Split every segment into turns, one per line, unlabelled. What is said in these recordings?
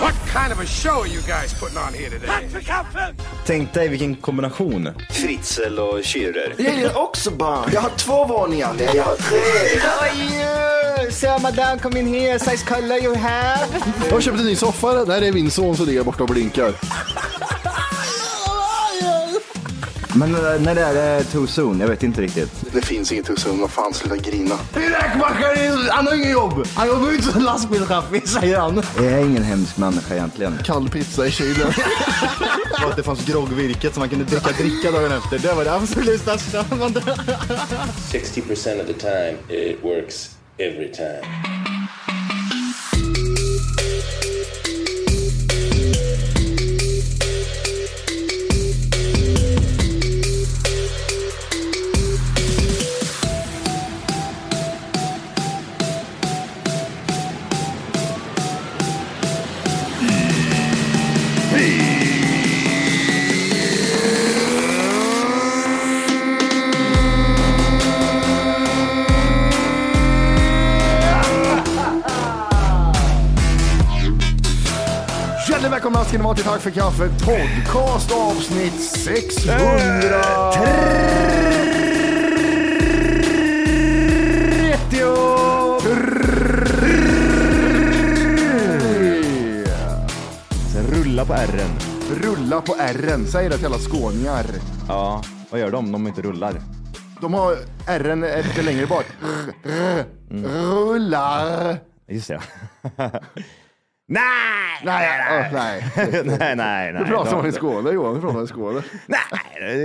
What kind of a show are you guys putting on here today?
Tänk dig vilken kombination.
Fritzl och Schürrer.
Jag är också barn. Jag har två våningar. Nej, jag har tre.
How are you? uh, Sir, madame, come in here. Size color you have.
Jag har köpt en ny soffa. Där är min son som ligger borta och blinkar.
Men eh, när det är eh, too soon? Jag vet inte riktigt.
Det finns inget hos honom. Vad fan, sluta grina.
Räkmackare, han har inget jobb! Han jobbar inte som lastbilschaffis, säger han. Jag är ingen hemsk människa egentligen.
Kall pizza i kylen.
Och att det fanns groggvirket som man kunde dricka dricka dagen efter. Det var det absolut största.
60% of the time it works every time.
Hjärtligt välkomna ska ni vara till Tack för kaffe podcast avsnitt 600.
Eh. Rulla på R'n.
Rulla på R'n. Säg det till alla skåningar.
Ja, vad gör de om de inte rullar?
De har R'n är lite längre bak. Rullar.
Just det. nej!
Nej, åh, nej.
nej, nej, nej.
Du pratar om i Skåne Johan. Du pratar om i Skåne.
Nej,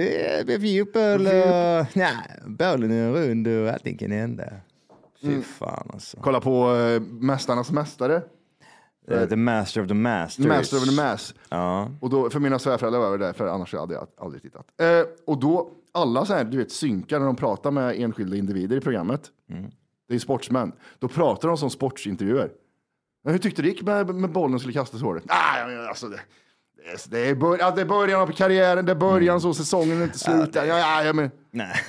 det är fotboll och... Nej, bollen är rund och allting kan hända. Fy
Mm.
fan alltså.
Kolla på eh, Mästarnas mästare.
Eh, The master of the masters.
Master of the Mass.
Ja.
Och då, för mina svärföräldrar var det där, för annars hade jag aldrig tittat. Eh, och då, alla så här, du vet, synkar när de pratar med enskilda individer i programmet.
Mm.
Det är sportsmän. Då pratar de som sportsintervjuer. Men hur tyckte du det gick med, med bollen skulle kastas i håret? Ah, men alltså, det, det, är- det, är bör, ja, det är början av karriären, det är början så, säsongen är inte slut. Ja, ja, ja, men,
Mm.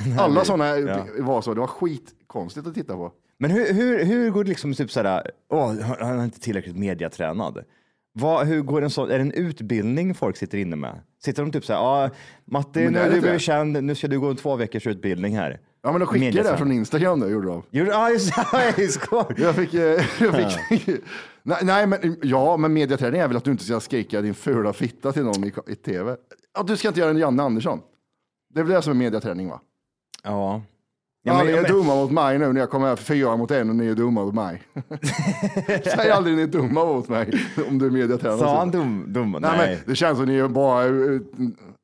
Nej.
alla sådana
Ja.
var så, det var skitkonstigt att titta på.
Men hur, hur, hur går det liksom typ sådär, åh, han är inte tillräckligt mediatränad. Vad, hur går en sån, är det en utbildning folk sitter inne med? Sitter de typ såhär, ja Matti,
Men
nu
det är
har
det
du
inte.
blivit känd, nu ska du gå en två veckors utbildning här.
Ja, men de skickade det här från Instagram då, gjorde de.
Gjorde, ja, just det, skoj.
Jag fick... eh, Jag fick nej, nej, men ja, men mediaträning är väl att du inte ska skrika din fula fitta till någon i, i tv. Att du ska inte göra en Janne Andersson. Det är väl det som är mediaträning va?
Ja.
Ja,
men-
ni är dumma mot mig nu när jag kommer här för fyra mot en och ni är dumma mot mig. Säg aldrig ni är dumma mot mig om du är mediatränare.
Sa han dum, dum? Nej.
Nej, men det känns som ni är bara... eh,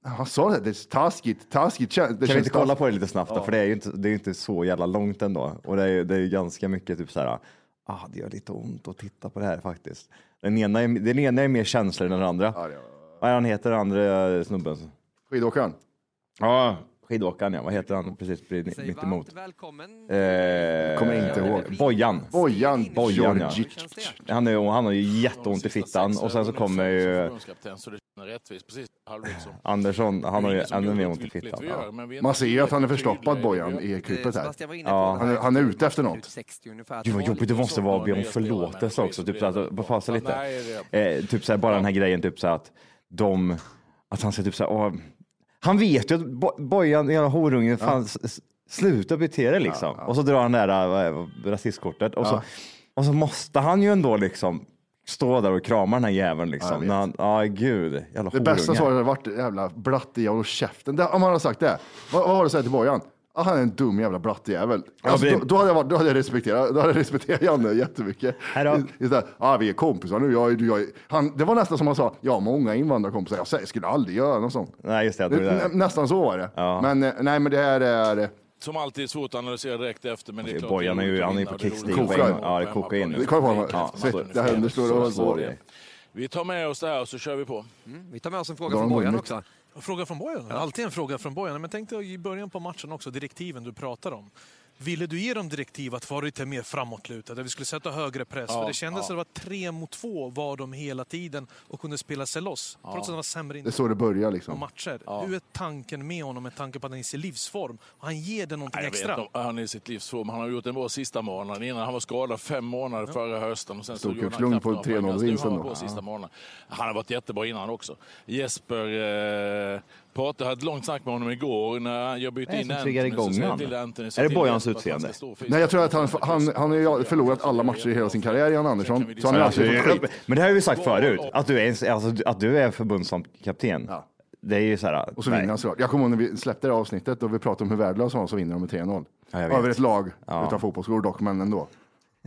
Han sa det, det är taskigt, taskigt. kän- Det
Kan
känns
vi inte kolla på det lite snabbt då? För det är ju inte, det är ju inte så jävla långt ändå. Och det är ju det är ju ganska mycket typ så här, ah, det gör lite ont att titta på det här faktiskt. Den ena är, den ena är mer känslor än den andra.
det är-
Vad är han heter, den andra snubben?
Skidåkaren.
Ja, skidåkaren ja. Vad heter han precis bredvid- mitt emot?
välkommen.
Eh,
Kommer inte ihåg.
Bojan.
Bojan.
Bojan, ja.
Georgic.
Han, är, han har ju jätteont i fittan och sen så kommer ju
Så det känns rättvist, precis halvlek som...
Andersson. Han har ju ännu mer ont i
Vilket
fittan.
vi
Ja.
gör, men vi är
Man
inte
ser ju att han är
helt
förstoppad,
tydliga i det
Bojan,
vi gör.
i klippet här.
Sebastian var inne på
Ja.
det
Han
här.
är, han är ute efter något.
60 ungefär.
Gud vad jobbigt det måste vara att be om förlåtelse också. Typ såhär, vad fan, så lite. Eh, typ såhär, bara den här grejen, typ såhär att de, att han säger typ såhär, åh, han vet ju att bo- Bojan, den jävla horungen, fan, s- s- sluta bete dig liksom. Och så drar han det där äh, rasistkortet och, så, och så måste han ju ändå liksom stå där och krama den här jäveln liksom. Ja, han, ah, gud, jävla
Det bästa
horunge.
svaret hade varit jävla blattejävel och käften. Det, om han hade sagt det, vad, vad har du sagt till Bojan? Ah, han är en dum jävla blattejävel. Alltså,
det-
då, då, hade jag varit, då hade jag respekterat, då hade jag respekterat Janne jättemycket.
Här då.
I- Istället, ah, vi är kompisar nu. Jag, är- du- jag, är-" han, det var nästan som han sa, jag har många invandrarkompisar. Jag säger, skulle aldrig göra något sånt.
Nej, just det, jag tror det där.
Nä- Nästan så var det. Men eh, nej, men det här är...
Som alltid är svårt att analysera direkt efter, men det är klart...
Alltså, Bojan är ju, han är ju på kickstick.
Kokar.
Ja, det kokar in. nu.
Kolla på honom.
Ja,
Se,
så-
det här understår
så-
och så.
Vi tar med oss det här och så kör vi på.
Vi tar med oss en fråga
Då har
från
de
Bojan
vunnit.
också.
Och Fråga från Bojan. Alltid en fråga från Bojan. Men tänk dig i början på matchen också, direktiven du pratar om.
Ville du ge dem direktiv att vara lite mer framåtlutade? Vi skulle sätta högre press.
Ja,
för det kändes
ja.
som att det var tre mot två var de hela tiden och kunde spela sig loss. Trots att de var sämre
Det är
in
så det börjar
på
liksom.
matcher. Hur är tanken med honom med tanke på att han är i sin livsform? Och han ger det någonting
Nej, Jag
extra.
vet inte om han är i sitt livsform. Han har gjort en bra sista månaden innan. Han var skadad fem månader förra hösten. Och sen så gjorde han
kukslugn
knappt
på
några poäng.
3-0
Nu har
vinsten
han
då.
varit bra sista månaden. Han har varit jättebra innan också. Jesper eh, pratade, jag hade ett långt snack med honom igår när jag bytte
är
in
som triggar
Anthony.
igång
så sa jag
han?
till Anthony, så
Är det
till Jesper
Bojans
att han ska
utseende?
stå fysiskt.
Nej, jag tror att han, han, han har ju förlorat alla matcher i hela sin karriär, Jan Andersson. Så han är
Alltså,
alltid fått skit.
men det har vi sagt förut, att du är, alltså, att du är förbundskapten. Det är ju så här.
Och så
nej.
vinner han såklart. Jag kommer ihåg när vi släppte det här avsnittet och vi pratade om hur värdelös han var, så vinner de med 3-0.
Ja, jag vet.
Över ett lag utan fotbollsskor dock, men ändå.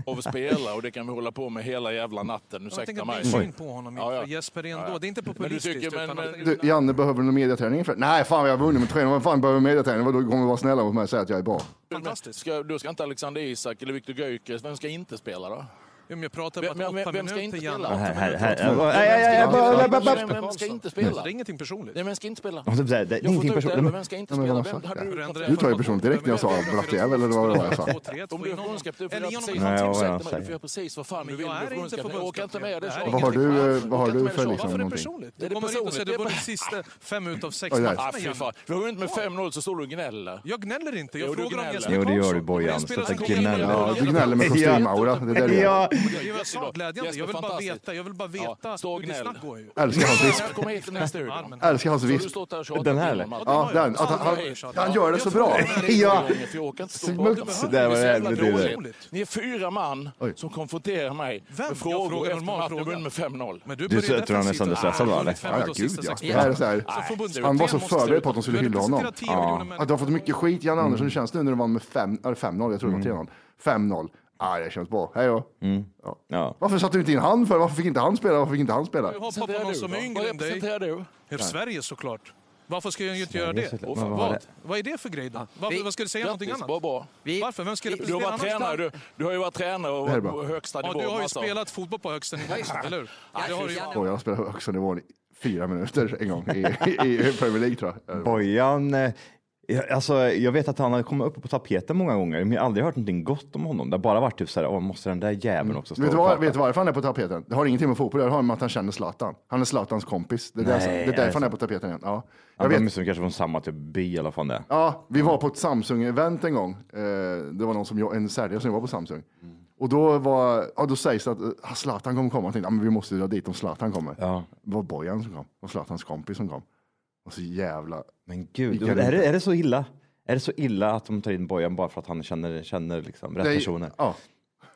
av att spela och det kan vi hålla på med hela jävla natten.
Jag tänker
Ursäkta
att
mig.
det är synd på honom.
Ja, ja.
För Jesper är ändå, det är inte
Men du
populistiskt.
tycker- men-
utan
men-
att-
Du, Janne, behöver du någon mediaträning för? Nej, fan jag har vunnit med 3-0. Vad fan behöver mediaträning? Vadå, kommer du vara snälla mot mig och säga att jag är bra?
Fantastiskt.
Ska, då ska inte Alexander Isak eller Viktor Gyökeres, vem ska inte spela då?
Jo, men Jag pratar
Vem-
om att
vem-
åtta
vem ska
minuter,
inte
Janne.
spela?
Här, här, här.
Vem- Vem ska inte spela?
Det är ingenting personligt.
Nej, vem ska inte spela?
Och typ så här, det är
Jag får
ingenting
ta ut det,
personligt.
men vem ska inte
men
spela?
vad
Vem,
fan,
hade du
Förändra
Du tar ju
det.
personen direkt när jag sa blattjävel, eller vad det var jag sa.
om du är förbundskapten får
Eller
jag
genom
Nej,
precis
att
jag
vad du
var
säger
jag
till mig. Du
säger.
får göra precis vad fan du
Men
vill.
jag är
Du
inte
förbundskapten. Jag orkar inte med det.
förbundskapten.
så.
Det här är
Vad har du, eh, vad har
Orkar
du
inte med
för
så.
liksom
Varför är det
någonting?
personligt?
Är
Du
det
kommer in och
personligt?
säger du var
Det
den
är
sista fem ut av sex
Oj, där.
Ah,
matcherna.
fy
Janne.
fan. Du går inte med 5-0 så står du och gnäller.
Jag gnäller inte.
Jo,
Jag
du
frågar om
gnäller.
Jesper
Jo, det gör du
Karlsson. Det är
Bojan.
en spelare
Så
som
att
gnäller.
gnäller.
Ja, du gnäller med kostymaura, det är det du gör.
Ja,
Det är väl så glädjande. Jag vill bara veta, jag vill bara veta
Ja, stå och
hur ditt
gnäll.
snack går. Ju.
Älskar hans visp.
Kom hit till nästa studio.
Älskar hans
Så har du
visp.
stått där och tjatat
Den här,
till
eller?
honom att-
Ja, den. Att han, han, han gör det så bra.
ja.
För jag orkar inte stå
Smuts.
bakom det.
Det där var
är så jävla
jävligt
dåligt.
roligt.
Ni är fyra man som konfronterar mig
Vem?
med
Jag frågar
frågor efter
normal
matchen
fråga.
jag vunnit med 5-0.
Men du
Du
börjar
tror att han är
defensivt.
sönderstressad då,
Ah,
eller?
fem ut av
Ja,
sista
gud, ja.
sex
Det här är
matcherna.
så här.
Som förbundskapten
Han var så
måste
förberedd
du-
på att de skulle
du hade
hylla honom.
presenterat 10 miljoner
Att du har fått mycket skit, Jan Andersson. Hur känns det nu när du vann med fem- eller 5-0? Jag tror det var 3-0. 5-0. Ah, det känns bra. Hej då. Ja.
ja.
Varför satte du inte in han för? Varför fick inte han spela? Varför fick inte han spela?
Du hoppar på någon som är yngre än dig.
representerar du?
Hur Sverige såklart. Varför ska jag inte göra
Sverige
det?
såklart.
Och
Men vad var
vad,
det?
vad är det för grej då? Varför,
vi-
vad ska du säga någonting
Grattis,
annat?
vad bra.
Vi-
Varför? Vem ska
vi-
Du har
representera
varit tränare, du, du har ju varit tränare och
här är
varit
bra.
på högsta alltså.
Ja,
nivå.
du har ju
massa år.
spelat fotboll på högsta nivå, eller hur? Ja, det har du ju.
Janne.
Och jag spelade högsta nivån i fyra minuter en gång i, i, i Premier League tror jag.
Bojan, eh, jag- alltså, jag vet att han har kommit upp på tapeten många gånger, men jag har aldrig hört någonting gott om honom. Det har bara varit typ så här, åh, måste den där jäveln också stå
Mm. Vet du,
och
var,
prata?"
vet du varför han är på tapeten? Det har ingenting med fotboll att göra, det har med att han känner Zlatan. Han är Zlatans kompis. Det är, där,
Nej,
det är
är det
därför han är
så?
på tapeten igen. Ja, jag
Ja, de är
vet.
som kanske från samma typ by i alla fall det.
Ja, vi var på ett Samsung-event en gång. Eh, det var någon som, jag- en säljare som jobbade på Samsung.
Mm.
Och då, var, ja, då sägs det att eh, Zlatan kommer komma. Jag tänkte, ja, men vi måste dra dit om Zlatan kommer.
Ja.
Det var Bojan som kom. Och Zlatans kompis som kom. Och så jävla...
Men gud,
Vilka
är det,
roliga.
är det så illa? Är det så illa att de tar in Bojan bara för att han känner, känner liksom rätt
Nej,
personer?
Ja,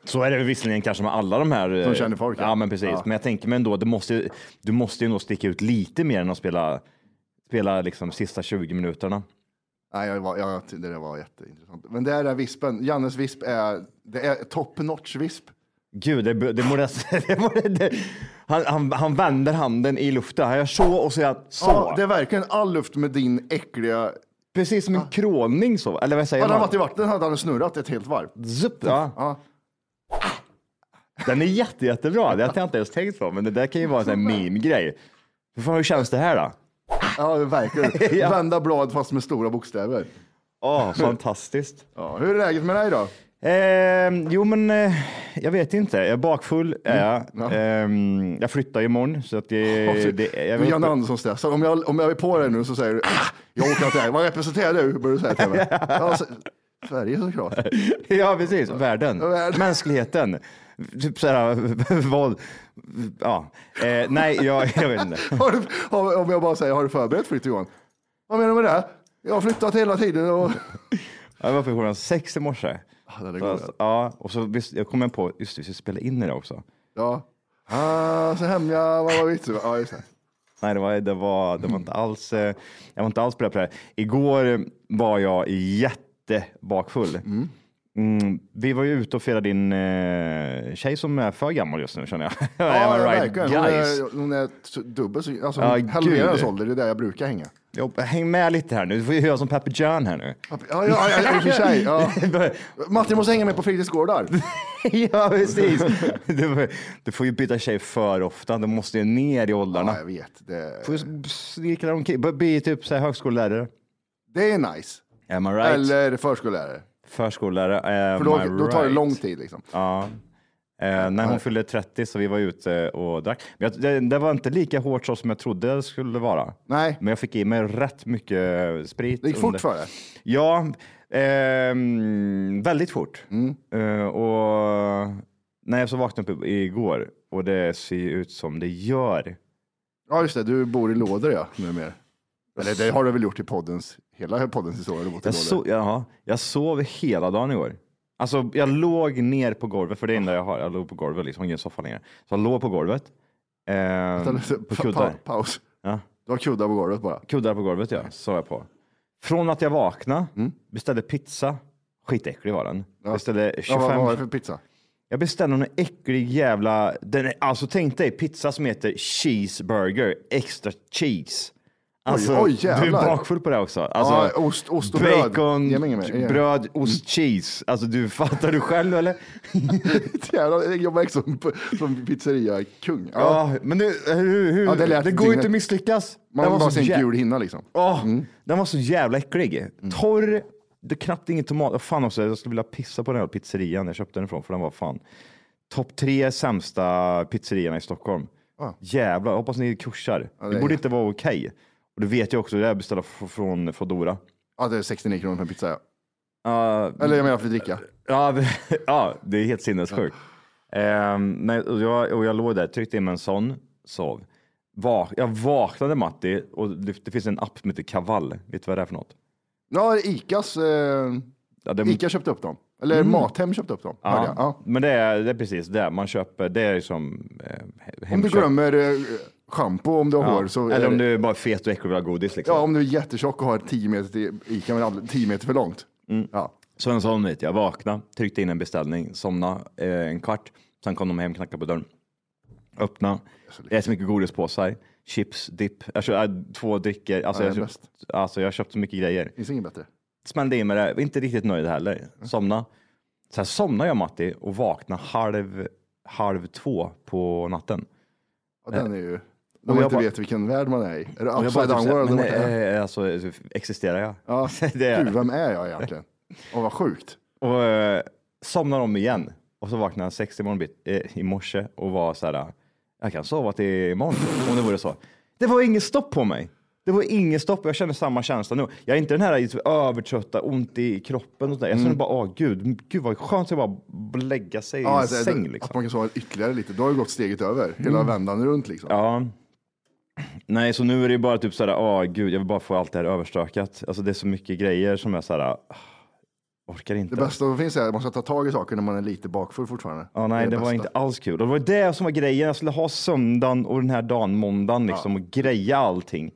Så är det visserligen kanske med alla de här. eh,
Som känner folk,
Ja,
ja.
men precis.
Ja.
Men jag tänker mig ändå, du måste, ju- du måste ju nog sticka ut lite mer än att spela, spela liksom sista 20 minuterna.
Nej, jag var, jag, tyckte det där var jätteintressant. Men det är den vispen. Jannes visp är, det är top notch visp.
Gud, det, det må det, det, må det, det han, han, han vänder handen i luften. Han gör så och så gör han så.
Ja, det är verkligen all luft med din äckliga...
Precis som en kråning så. Eller vad säger
Hade han
man?
varit i vattnet hade han snurrat ett helt varv.
Zup, ja.
typ- Ja.
Den är jätte, jättebra. Det har jag inte ens tänkt på, men det där kan ju vara en sån här meme-grej. Hur fan, hur känns det här då?
Ja, verkligen.
Ja.
Vända blad fast med stora bokstäver.
Åh, fantastiskt.
Ja, hur är läget med dig då?
Eh, Ehm, jo, men eh, jag vet inte. Jag är bakfull. Är jag. Ehm, jag flyttar imorgon. Så att det,
Alltså,
det, jag
du är
vet
Janne
inte.
Andersson stressad. Om jag, om jag är på dig nu så säger du, ah, jag orkar inte. det här." Vad representerar du? Börjar du säga till mig. Ja, så, Sverige såklart.
ja, precis. Världen.
Världen.
Mänskligheten. Typ sådär, vad... Ja. Eh, nej, jag, jag vet inte.
Har du, har- om jag bara säger, har du förberett flytt Johan? Vad menar du med det? Jag har flyttat hela tiden och...
Jag var på klockan sex i morse.
den är
Så,
god,
alltså, ja, och så visst, jag kom jag på, just det, vi ska spela in det också.
Ja. Ah, så hemliga, vad var vitsen? Ja, just det.
Nej, det var, det var, det var inte alls, eh, jag var inte alls beredd på det här. Igår var jag jättebakfull. Mm. vi var ju ute och firade din eh, tjej som är för gammal just nu känner jag. Am I
Ja,
right,
verkligen. Hon
guys?
är, hon är t- dubbel så, alltså,
Ja,
hon halverar
gud.
hennes ålder, det är där jag brukar hänga.
Jo, häng med lite här nu, du får ju göra som Pepper John här nu.
Ja, ja, ja, ja i och för sig. Ja. Matti måste hänga med på fritidsgårdar.
ja, precis. Du, du får ju byta tjej för ofta, du måste ju ner i åldrarna.
Ja, jag vet. Det,
Du får ju snirkla omkring, bli typ så här högskolelärare.
det är nice.
Am I right?
Eller förskollärare.
Förskollärare. eh,
För då,
am I
då tar det
right?
lång tid liksom.
Ja. Eh, när hon fyllde 30 så vi var ute och drack. Men jag, det, det var inte lika hårt så som jag trodde det skulle vara.
Nej,
Men jag fick i mig rätt mycket sprit.
det gick fort för det.
Ja, ehm, väldigt fort.
Mm.
Eh, och när jag så vaknade upp igår och det ser ju ut som det gör.
Ja, just det. Du bor i lådor ja, numera. Eller det har du väl gjort i poddens, hela poddens historia. Du bott i
Jag, so
lådor.
jaha, jag sov hela dagen igår. Alltså, jag låg ner på golvet, för det är det enda jag har. Jag låg på golvet, liksom, ingen soffa längre. Så jag låg på golvet. ehm, på
Pa-
kuddar.
pa- Paus.
Ja.
Du har kuddar på golvet bara.
Kuddar på golvet, ja. Sov jag på. Från att jag vaknade, beställde pizza. Skitäcklig var den. Beställde 25...
Mm. Ja, vad, vad var det för pizza?
Jag beställde en äcklig jävla... Den är, alltså tänk dig pizza som heter cheeseburger, extra cheese. Alltså,
oj,
du är
jävlar.
bakfull på det också. Alltså,
Ja, ost- ost och bröd.
bacon,
Ge mig inget mer.
bröd, ost, cheese. Alltså du fattar du själv eller?
Jävlar, jag jobbar extra som, som pizzeria-kung. Ja,
Ja, men nu, hur, hur,
Ja, det
det,
lät
går ju
dygnet.
inte att misslyckas.
man
Den
vill bara
så
se en
jä-
gul hinna liksom.
Åh, Den var så jävla äcklig. Torr, det är knappt ingen tomat. Åh, fan också, jag skulle vilja pissa på den här pizzerian jag köpte den ifrån, för den var fan topp tre sämsta pizzerierna i Stockholm. Jävlar, jag hoppas ni kursar. Ah. det,
det är-
borde inte vara okej. Och det vet jag också, det är beställt från Foodora.
Ja, det är 69 kronor för en pizza. Ja.
Ja,
Eller jag menar för att dricka.
Ja, ja det är helt sinnessjukt. Ehm, nej, och, jag, och jag låg där, tryckte in mig en sån, sov. Va- jag vaknade Matti och det, det finns en app som heter Kavall. Vet du vad det är för något?
Ja, Icas, eh,
Ja, det,
Ica köpte upp dem. Eller Mathem köpte upp dem. hörde
Mm. Ja,
jag. Ja.
men det är, det är precis det. Man köper, det är ju som eh, he-
Om du
hemköp.
glömmer eh, schampo om du har hår så... är
Eller om
det-
du är bara fet och äcklig och vill ha godis. Liksom.
Ja, om du är jättetjock och har 10 meter till Ica men aldrig 10 meter för långt.
Mm.
Ja.
Så en sån vet jag. Vakna, tryckte in en beställning, somna eh, en kvart. Sen kom de hem, knackade på dörren. Öppna. Det är så mycket godispåsar, chips, dipp. Jag kö- äh, två drycker. Alltså,
Ja,
jag
det är
köpt, alltså jag har köpt så mycket grejer.
Finns inget bättre.
Smällde in med det. Var Inte riktigt nöjd heller. Somna. Sen somnade jag Matti och vaknade halv, halv två på natten.
Ja, den är ju... När
och
man
jag
inte
bara-
vet vilken värld man är i. Är det
Och jag
upside
bara
down
typ såhär,
world?
men,
eller vad det är?
eh, alltså, existerar jag?
Ja.
det är
Gud,
jag.
vem är jag egentligen? Åh, vad sjukt.
Och eh, somnar om igen. Och så vaknade jag sex i, morgon, bit- eh, i morse och var så här, "Ah, jag kan sova till imorgon om det vore så. Det var inget stopp på mig. Det var inget stopp jag känner samma känsla nu. Jag är inte den här liksom övertrötta, ont i kroppen och sådär. Jag känner bara, åh gud, gud vad skönt att bara b- lägga sig i
Mm. Ja,
en
alltså,
säng
att- Att
liksom. Mm.
man kan sova ytterligare lite. Då har ju gått steget över. Hela vändan runt liksom.
Ja. Nej, så nu är det ju bara typ såhär, åh gud, jag vill bara få allt det här överstökat. Alltså det är så mycket grejer som jag såhär, ah, orkar inte.
Det bästa som finns är att man ska ta tag i saker när man är lite bakfull fortfarande.
Ja, nej, det, var
bästa.
inte alls kul. Och det var det som var grejen. Jag skulle ha söndagen och den här dagen, måndagen, liksom, och greja allting.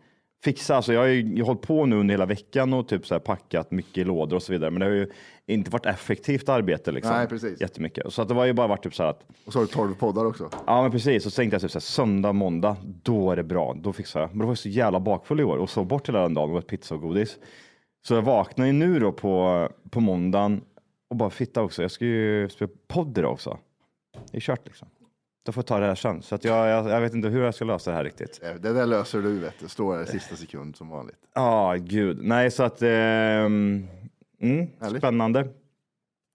Fixa, alltså jag har ju jag har hållit på nu under hela veckan och typ så här packat mycket lådor och så vidare. Men det har ju inte varit effektivt arbete liksom.
Nej, precis.
Jättemycket. Så att det var ju bara varit typ så här att,
Och så har du 12 poddar också.
ja men precis. Och så tänkte jag typ så här, söndag, måndag, då är det bra. Då fixar jag. Men då var jag så jävla bakfull i år och sov bort hela den dagen och åt pizza och godis. Så jag vaknade ju nu då på, på måndagen och bara fitta också. Jag ska ju spela podd idag också. Det är kört liksom. Då får jag ta det här sen. Så att jag, jag, jag vet inte hur jag ska lösa det här riktigt.
Eh, Det där löser du vet du. Står där i sista sekund som vanligt.
Ja, gud. Nej, så att... ehm, mm,
Härligt.
spännande.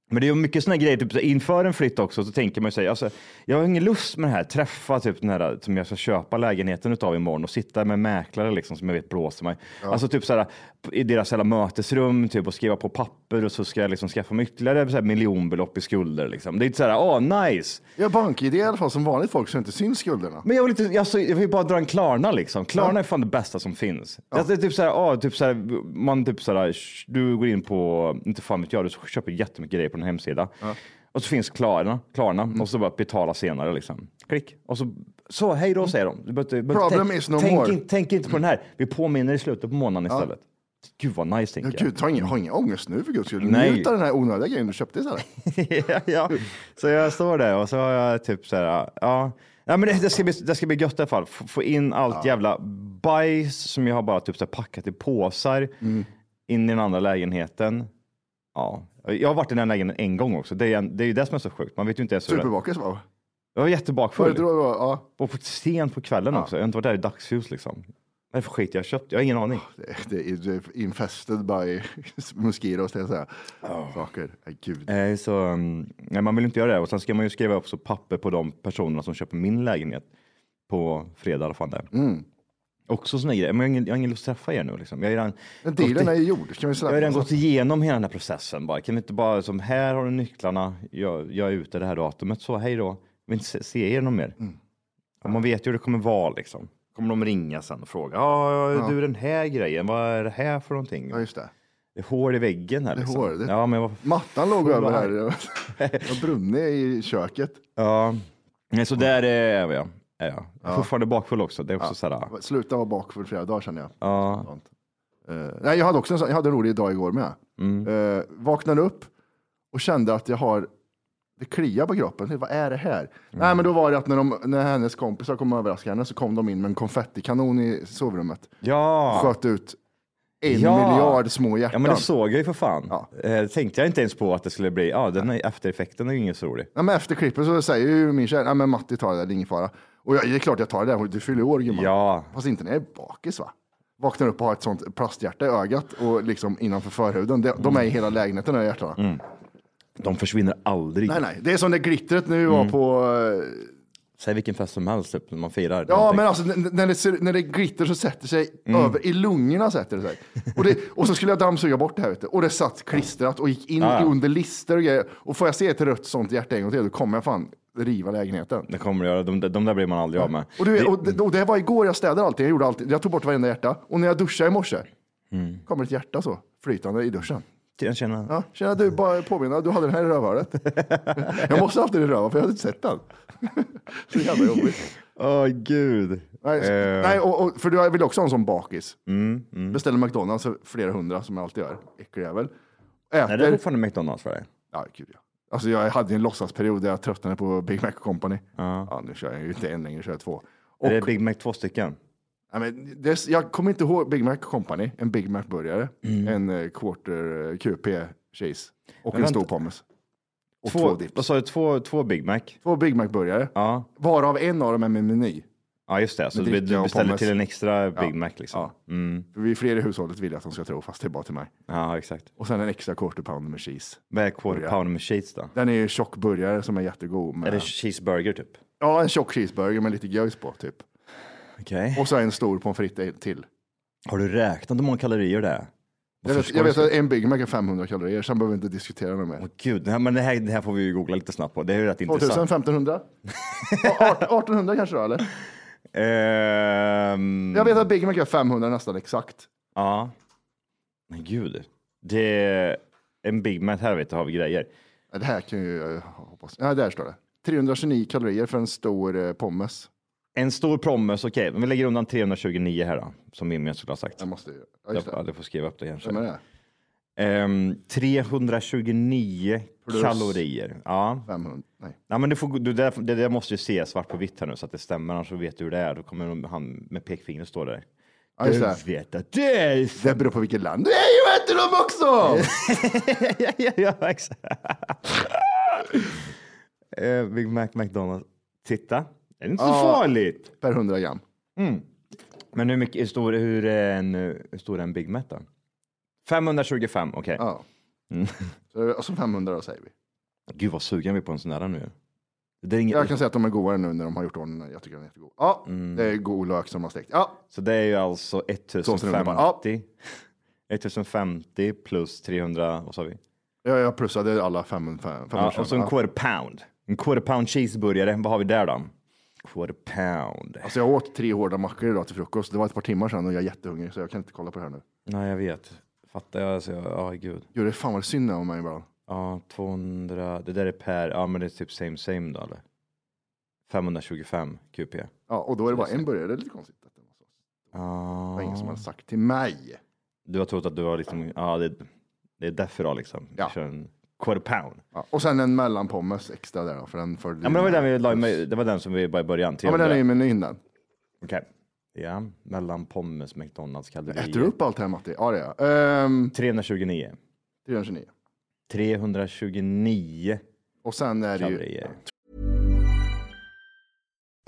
Men det är ju mycket sådana grejer, typ så här, inför en flytt också, så tänker man ju sig, alltså, jag har ingen lust med det här, träffa typ den här som jag ska köpa lägenheten utav imorgon och sitta med mäklare liksom som jag vet blåser mig. Alltså typ så här i deras alla mötesrum typ och skriva på papper och så ska jag liksom skaffa mig ytterligare så här, miljonbelopp i skulder liksom. Det är inte så här, åh nice,
Ja, bank-id i alla fall som vanligt folk så inte syns skulderna.
men jag vill, inte, alltså, jag vill bara dra en Klarna liksom. Klarna är fan det bästa som finns. Alltså, det är typ såhär, ah, typ såhär, man typ såhär, sh- du går in på, inte fan vet jag, du köper jättemycket grejer på en hemsida. Och så finns Klarna, Klarna
Mm.
och så bara betala senare liksom. Klick. Och så, så hej då säger de. Du behöver inte- du behöver inte
Mm. Problem
tänk-
is no
tänk,
more.
in- tänk inte på den här. Vi påminner i slutet på månaden istället. Gud vad nice
Ja,
tänker jag.
gud, ta ingen, ha ingen ångest nu för guds skull.
Nej.
Njut av den här onödiga grejen du köpte istället.
ja, ja. Så jag står där och så har jag typ så här, ja. ja men det, det, ska bli, det ska bli gött i alla fall. F få in allt jävla bajs som jag har bara typ så här packat i påsar in i den andra lägenheten. Ja, jag har varit i den här lägenheten en gång också. Det är, en, det är ju det som är så sjukt. Man vet ju inte ens hur det
Superbakis va?
Jag var
Var det
jättebakfull
då? Ja.
och på- sent på kvällen också. Jag har inte varit där i dagsljus liksom. Men Vad är det för skit jag har köpt? Jag har ingen aning.
Det är- det är infested by mosquitoes, tänkte jag säga. Saker. Nej, gud.
Eh, Så, mm, nej, man vill inte göra det. Och sen ska man ju skriva upp så papper på de personerna som köper min lägenhet på fredag. Eller fan det. är.
Mm.
Också såna grejer. Men jag har, ingen, jag har ingen lust att träffa er nu. Liksom. Jag har ju redan,
Men dealen
gått i-
är ju gjord. Kan vi
jag har ju redan
snabbt.
gått igenom hela den här processen. Bara. Kan vi inte bara, som här har du nycklarna, jag, jag är ute det här datumet, så hej då. Jag vill inte se, se er någon mer.
Mm.
Och man vet ju hur det kommer vara liksom. Kommer de ringa sen och fråga, ja du den här grejen, vad är det här för någonting?
Ja, just det.
Det är hål i väggen här. Liksom.
hål, det-
Ja, men vad
Mattan låg över
vad-
här. Jag har brunnit i köket.
Ja, nej, så där är jag. Är jag. jag är fortfarande bakfull också. Det är också så här,
Sluta vara bak för flera dagar känner jag.
ja,
Sånt. Eh, nej, jag hade också en, sån- jag hade en rolig dag igår med.
Mm.
Eh, vaknade upp och kände att jag har, det kliar på kroppen. Jag tänkte, Vad är det här?
Mm.
Nej, men då var det att när, de, när hennes kompisar kom och överraskade henne så kom de in med en konfettikanon i sovrummet.
ja.
Sköt ut en
Ja.
miljard små hjärtan.
ja, men det såg jag ju för fan.
Ja.
Eh, tänkte jag inte ens på att det skulle bli, ja, den här eftereffekten är ju inte så rolig.
Nej, men efter klippet så säger ju min tjej, nej men Matti tar det där, det är ingen fara. Och jag, det är klart jag tar det där, du fyller år gumman.
Ja.
Fast inte när jag är bakis va? Vaknar upp och har ett sånt plasthjärta i ögat och liksom innanför förhuden. De, de är i hela lägenheten de här hjärtana.
Mm. De försvinner aldrig.
Nej, nej, det är som det glittret nu
Mm.
var på... eh,
Säg vilken fest som helst typ, när man firar.
Ja,
någonting.
men alltså n- n- när det, ser, när det glittrar så sätter sig
Mm.
över, i lungorna sätter det sig. Och, det, och så skulle jag dammsuga bort det här ute och det satt klistrat och gick in
Ja, ja.
i under lister och grejer. Och får jag se ett rött sånt hjärta en gång till, då kommer jag fan riva lägenheten.
Det kommer det göra. De, de där blir man aldrig av med.
Och, du, vet, och, det, och det var igår jag städade allting. Jag, gjorde allting. jag tog bort varenda hjärta. Och när jag duschade i morse
Mm.
kommer ett hjärta så flytande i duschen.
Tjena, tjena.
Ja, tjena du, bara påminna, du hade den här i rövhålet. jag måste ha haft den i rövhålet för jag hade inte sett den. så jävla jobbigt.
Åh gud.
Nej, så,
Eh, Mm,
nej och, och, för du vill också ha en sån bakis. Beställer McDonalds för flera hundra som jag alltid gör. Äckeljävel.
nej, det är
Äter.
fortfarande McDonalds för dig.
Ja, gud ja. Alltså jag hade en låtsasperiod där jag tröttnade på Big Mac Company. Ja, nu kör jag ju inte en längre, kör jag två. Och-
Är det Big Mac två stycken?
Ja, men det, är- jag kommer inte ihåg Big Mac Company, en Big Mac-burgare,
Mm.
en eh, quarter eh, QP cheese och en
vänta.
stor pommes. Och två, dips.
Vad sa du? Två, två Big Mac?
Två Big Mac-burgare,
Ja.
varav en av dem är med meny.
Ja, just det. Så
Med
du,
dricka
du
och
beställer
pommes.
till en extra Big
Ja.
Mac liksom.
Ja.
Mm.
För vi är fler i hushållet vill jag att de ska tro, fast det är bara till mig.
ja exakt.
Och sen en extra quarter pounder med cheese.
Vad är quarter pounder med cheese då?
Den är ju tjock burgare som är jättegod. Med,
Är det cheeseburger typ?
Ja, en tjock cheeseburger med lite göjs på typ.
Okej.
Och så en stor pommes frites till.
Har du räknat hur många kalorier det är?
Jag vet, jag vet att en Big Mac är 500 kalorier, sen behöver vi inte diskutera något mer.
Åh, Gud, det här, men det här, det här får vi ju googla lite snabbt på. Det är ju rätt
2000,
intressant. Mm.
1500? Ja, 1800 kanske då, eller?
Ehm,
Jag vet att Big Mac är 500 nästan exakt.
Ja. Men gud. Det är en Big Mac här vet du, har vi grejer.
Ja, Det här kan ju jag hoppas. Ja, där står det. 329 kalorier för en stor eh, pommes.
En stor prommes, okej. men Vi lägger undan 329 här då, som Mimmi skulle ha sagt.
Jag måste ju... Ja,
Jag
just det.
får, jag får skriva upp det kanske.
Vem är det?
Ehm, 329
Plus.
kalorier. Ja.
500? Nej.
Nej, men du får, du, det, där, det där måste ju se svart på vitt här nu så att det stämmer, annars så vet du hur det är. Då kommer han med pekfingret stå där.
Ja, just
Du
det.
vet att det är...
Det beror på vilket land du är ju, vet du dem också!
ja, ja, ja, exakt. Eh, Big Mac McDonalds. Titta, det är inte så farligt.
Per 100 gram.
Men hur, mycket, hur, stor, hur, är en, eh, hur stor är en Big Mac då? 525, okej.
Ja.
Mm.
Så, det är- och så 500 då säger vi.
Gud vad sugen vi är på en sån där nu. Det är
Jag
inget,
kan säga att de är godare nu när de har gjort ordning. Jag tycker den är jättegod. Ja,
Mm.
det är god lök som de har stekt. Ja,
Så det är ju alltså
Såsen är underbar.
1050. 1050 plus 300, vad sa vi?
jag, jag plussade alla 500. 500
Ja, och så en
ja.
quarter pound. En quarter pound cheeseburgare, vad har vi där då? Quarter pound.
Alltså jag åt tre hårda mackor idag till frukost. Det var ett par timmar sedan och jag är jättehungrig så jag kan inte kolla på det här nu.
Nej, jag vet. Fattar jag? Alltså, jag- ja, gud.
Gud, det är fan vad synd det är om mig ibland.
Ja, 200. Det där är per. Ja, men det är typ same same då, eller? 525 QP.
Ja, och då är det bara en burgare. Det är lite konstigt. att det var så. Det var
Ja.
ingen som hade sagt till mig.
Du har trott att du har liksom, ja, det, det är därför då liksom.
Ja.
Vi kör en quarter pound.
Ja, och sen en mellanpommes extra där då, för den följde
Ja, men det var den vi la med, det var den som vi bara i början.
Ja, men den är
300.
i menyn den.
Okej. Ja, mellan pommes, McDonalds, kalorier.
Äter du upp allt det här Matti? Ja, det gör jag. Ehm,
329.
329.
329
Och sen är det ju...
kalorier.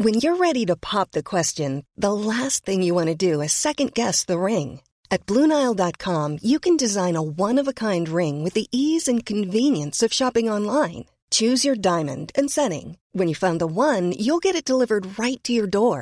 When you're ready to pop the question, the last thing you want to do is second guess the ring. At Bluenile.com, you can design a one of a kind ring with the ease and convenience of shopping online. Choose your diamond and setting. When you find the one, you'll get it delivered right to your door.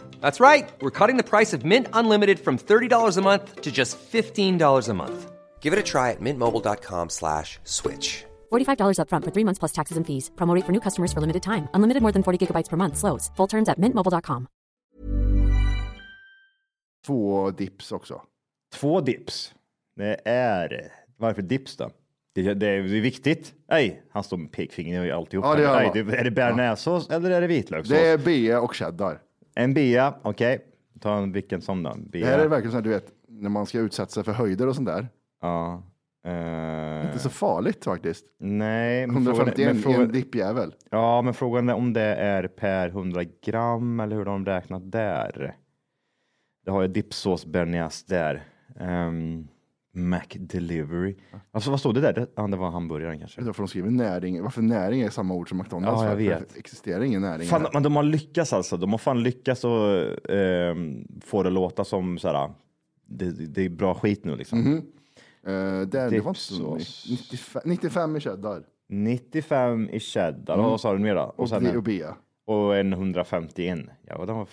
That's right. We're cutting the price of Mint Unlimited from $30 a month to just $15 a month. Give it a try at mintmobile.com slash switch.
$45 upfront for three months plus taxes and fees. Promo rate for new customers for limited time. Unlimited more than 40 gigabytes per month. Slows. Full terms at mintmobile.com.
Två dips också.
Två dips. Det är... Varför dips då? Det, det är viktigt. Nej, han står med pekfingret i alltihop.
Ja, det gör
Nej,
han.
det, är det bearnaisesås eller är det vitlökssås?
Det är bea och cheddar.
En bea, okej. Ta en vilken som då.
Det
Bea.
här är verkligen så här, du vet, när man ska utsätta sig för höjder och sånt där.
Ja. Eh,
Det är så farligt faktiskt.
nej, men frågan,
151
är- men
i
frågan,
en dippjävel.
ja, men frågan är om det är per 100 gram eller hur de räknat där. Det har jag dipsås bearnaise där. Ehm, Mac delivery. Alltså vad stod det där? Det, ja, det var hamburgaren kanske.
Det är därför de skriver näring. Varför näring är samma ord som McDonalds?
Ja, jag
Varför
vet.
existerar ingen näring.
Fan,
här?
men de har lyckats alltså. De har fan lyckats att eh, få det att låta som så här. Det, det är bra skit nu liksom.
Mhm. Eh, där, det var inte så
Dipsås.
mycket. 95, 95 i cheddar
95 i cheddar. Och Vad sa du mer då?
Mm. och,
sen
bi-
en-
och bea.
och en 151. Ja, den var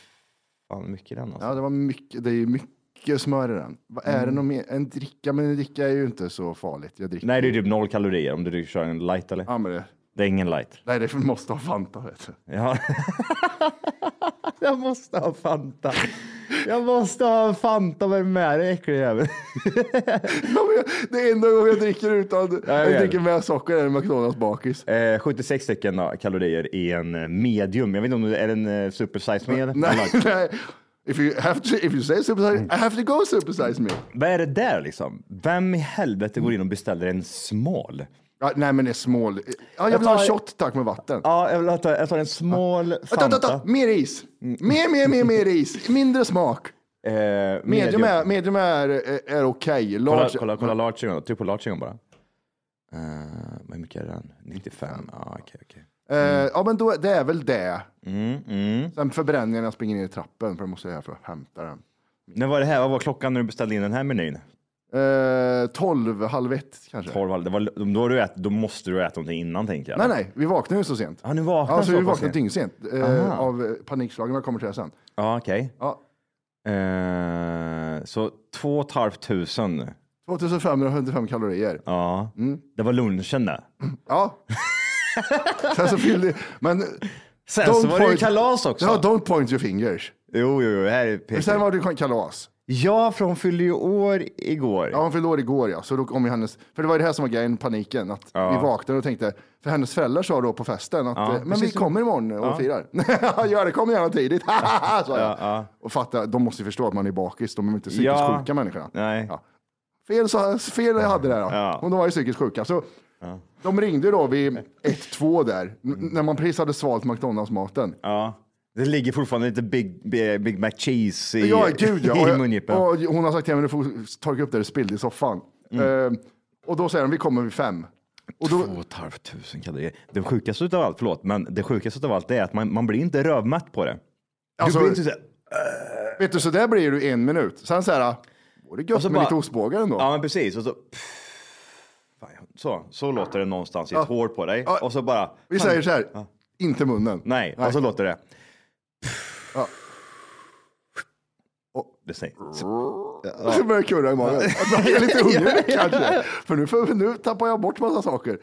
fan mycket den alltså.
Ja, det var mycket. Det är ju mycket smör i den. Vad är
Mm.
det någon mer? En dricka, men en dricka är ju inte så farligt. Jag dricker.
Nej, det är typ noll kalorier om du kör en light eller?
Ja, men det,
Det är ingen light.
nej, det måste ha Fanta. Vet du.
Ja. Jag måste ha Fanta. Jag måste ha Fanta, vad är det med dig äcklig jävel?
Ja, men jag- Det är enda gången jag dricker utan.
jag
Jag,
vet.
dricker med socker är en McDonalds bakis.
Eh, 76 stycken då, kalorier i en eh, medium. Jag vet inte om det är en eh, supersize med.
Nej, nej. If you, have to, if you say super
Mm.
size, I have to go super size me.
Vad är det där liksom? Vem i helvete går in och beställer en smal?
Ja, nej, men det är small. Ja, jag
Jag
vill ha
tar-
en shot tack med vatten.
Ja, jag, vill ha- jag tar en smal
Ta, ta, ta,
Fanta. Mm.
mer is. Mer, mer, mer, mer is. Mindre smak.
Eh,
Medium är, medium är, eh, är okej.
Kolla,
Large.
kolla, kolla large en gång. Tryck på large en gång bara. Eh, hur mycket är den? 95? Ja, okej, okej. Mm.
Eh, ja, men då, det är väl det. Sen förbränner jag när jag springer ner i trappen för jag måste jag för att hämta den.
När var det här? Vad var klockan när du beställde in den här menyn?
Eh, 12, halv ett kanske.
12, halv- det var, då, har du ät, då måste du äta någonting innan tänker jag.
Nej, nej, vi vaknade ju så sent.
Ja, nu vaknar
Ja, så vi
pass
vaknade
sent.
dyngsent
Aha.
eh, av eh, panikslagen. Jag kommer till det sen.
Ja, okej.
Ja,
Eh, så 2 500.
2555 kalorier.
Ja,
Mm.
det var lunchen där.
Ja. sen så fyllde... Men
Sen
Don't
så var det ju
point-
kalas också.
ja, don't point your fingers.
Jo, jo, jo, här är
Men
pek.
sen var det ju kalas.
Ja, för hon fyllde ju år igår.
Ja, hon fyllde år igår ja. Så då kom ju hennes, för det var ju det här som var grejen, paniken. Att vi vaknade och tänkte, för hennes föräldrar sa då på festen att eh, men vi
precis.
kommer imorgon och firar. Gör det, kom gärna tidigt. sa jag. Och fatta, de måste ju förstå att man är bakis, de är inte psykiskt
Ja.
sjuka människorna.
Nej.
Ja. Fel, så, fel jag hade där då.
Ja.
Och de var ju psykiskt sjuka. Så De ringde ju då vid 1-2 där, n- när man precis hade svalt McDonalds-maten.
Ja. Det ligger fortfarande lite Big, Big, Big Mac Cheese i,
Ja, gud ja. Och
i
jag-
mungipan.
Och hon har sagt till mig, du får torka upp det du spillde i soffan.
Mm.
Eh, och då säger de, vi kommer vid fem. Och
2
då,
500 kalorier. Det sjukaste utav allt, förlåt, men det sjukaste utav allt det är att man, man blir inte rövmätt på det.
Alltså-
du blir inte så här,
vet du, så där blir du en minut. Sen så här, vore det gött
Och så Alltså
med
bara-
lite ostbågar ändå.
ja men precis, och så, fan, så, så låter det någonstans i ett hår på dig
Ja.
och så bara,
vi säger så här, inte munnen.
nej, Alltså, och så låter det.
Ja.
Det säger,
Så börjar det kurra i magen. Att Jag är lite hungrig kanske. För nu, för nu tappar jag bort massa saker.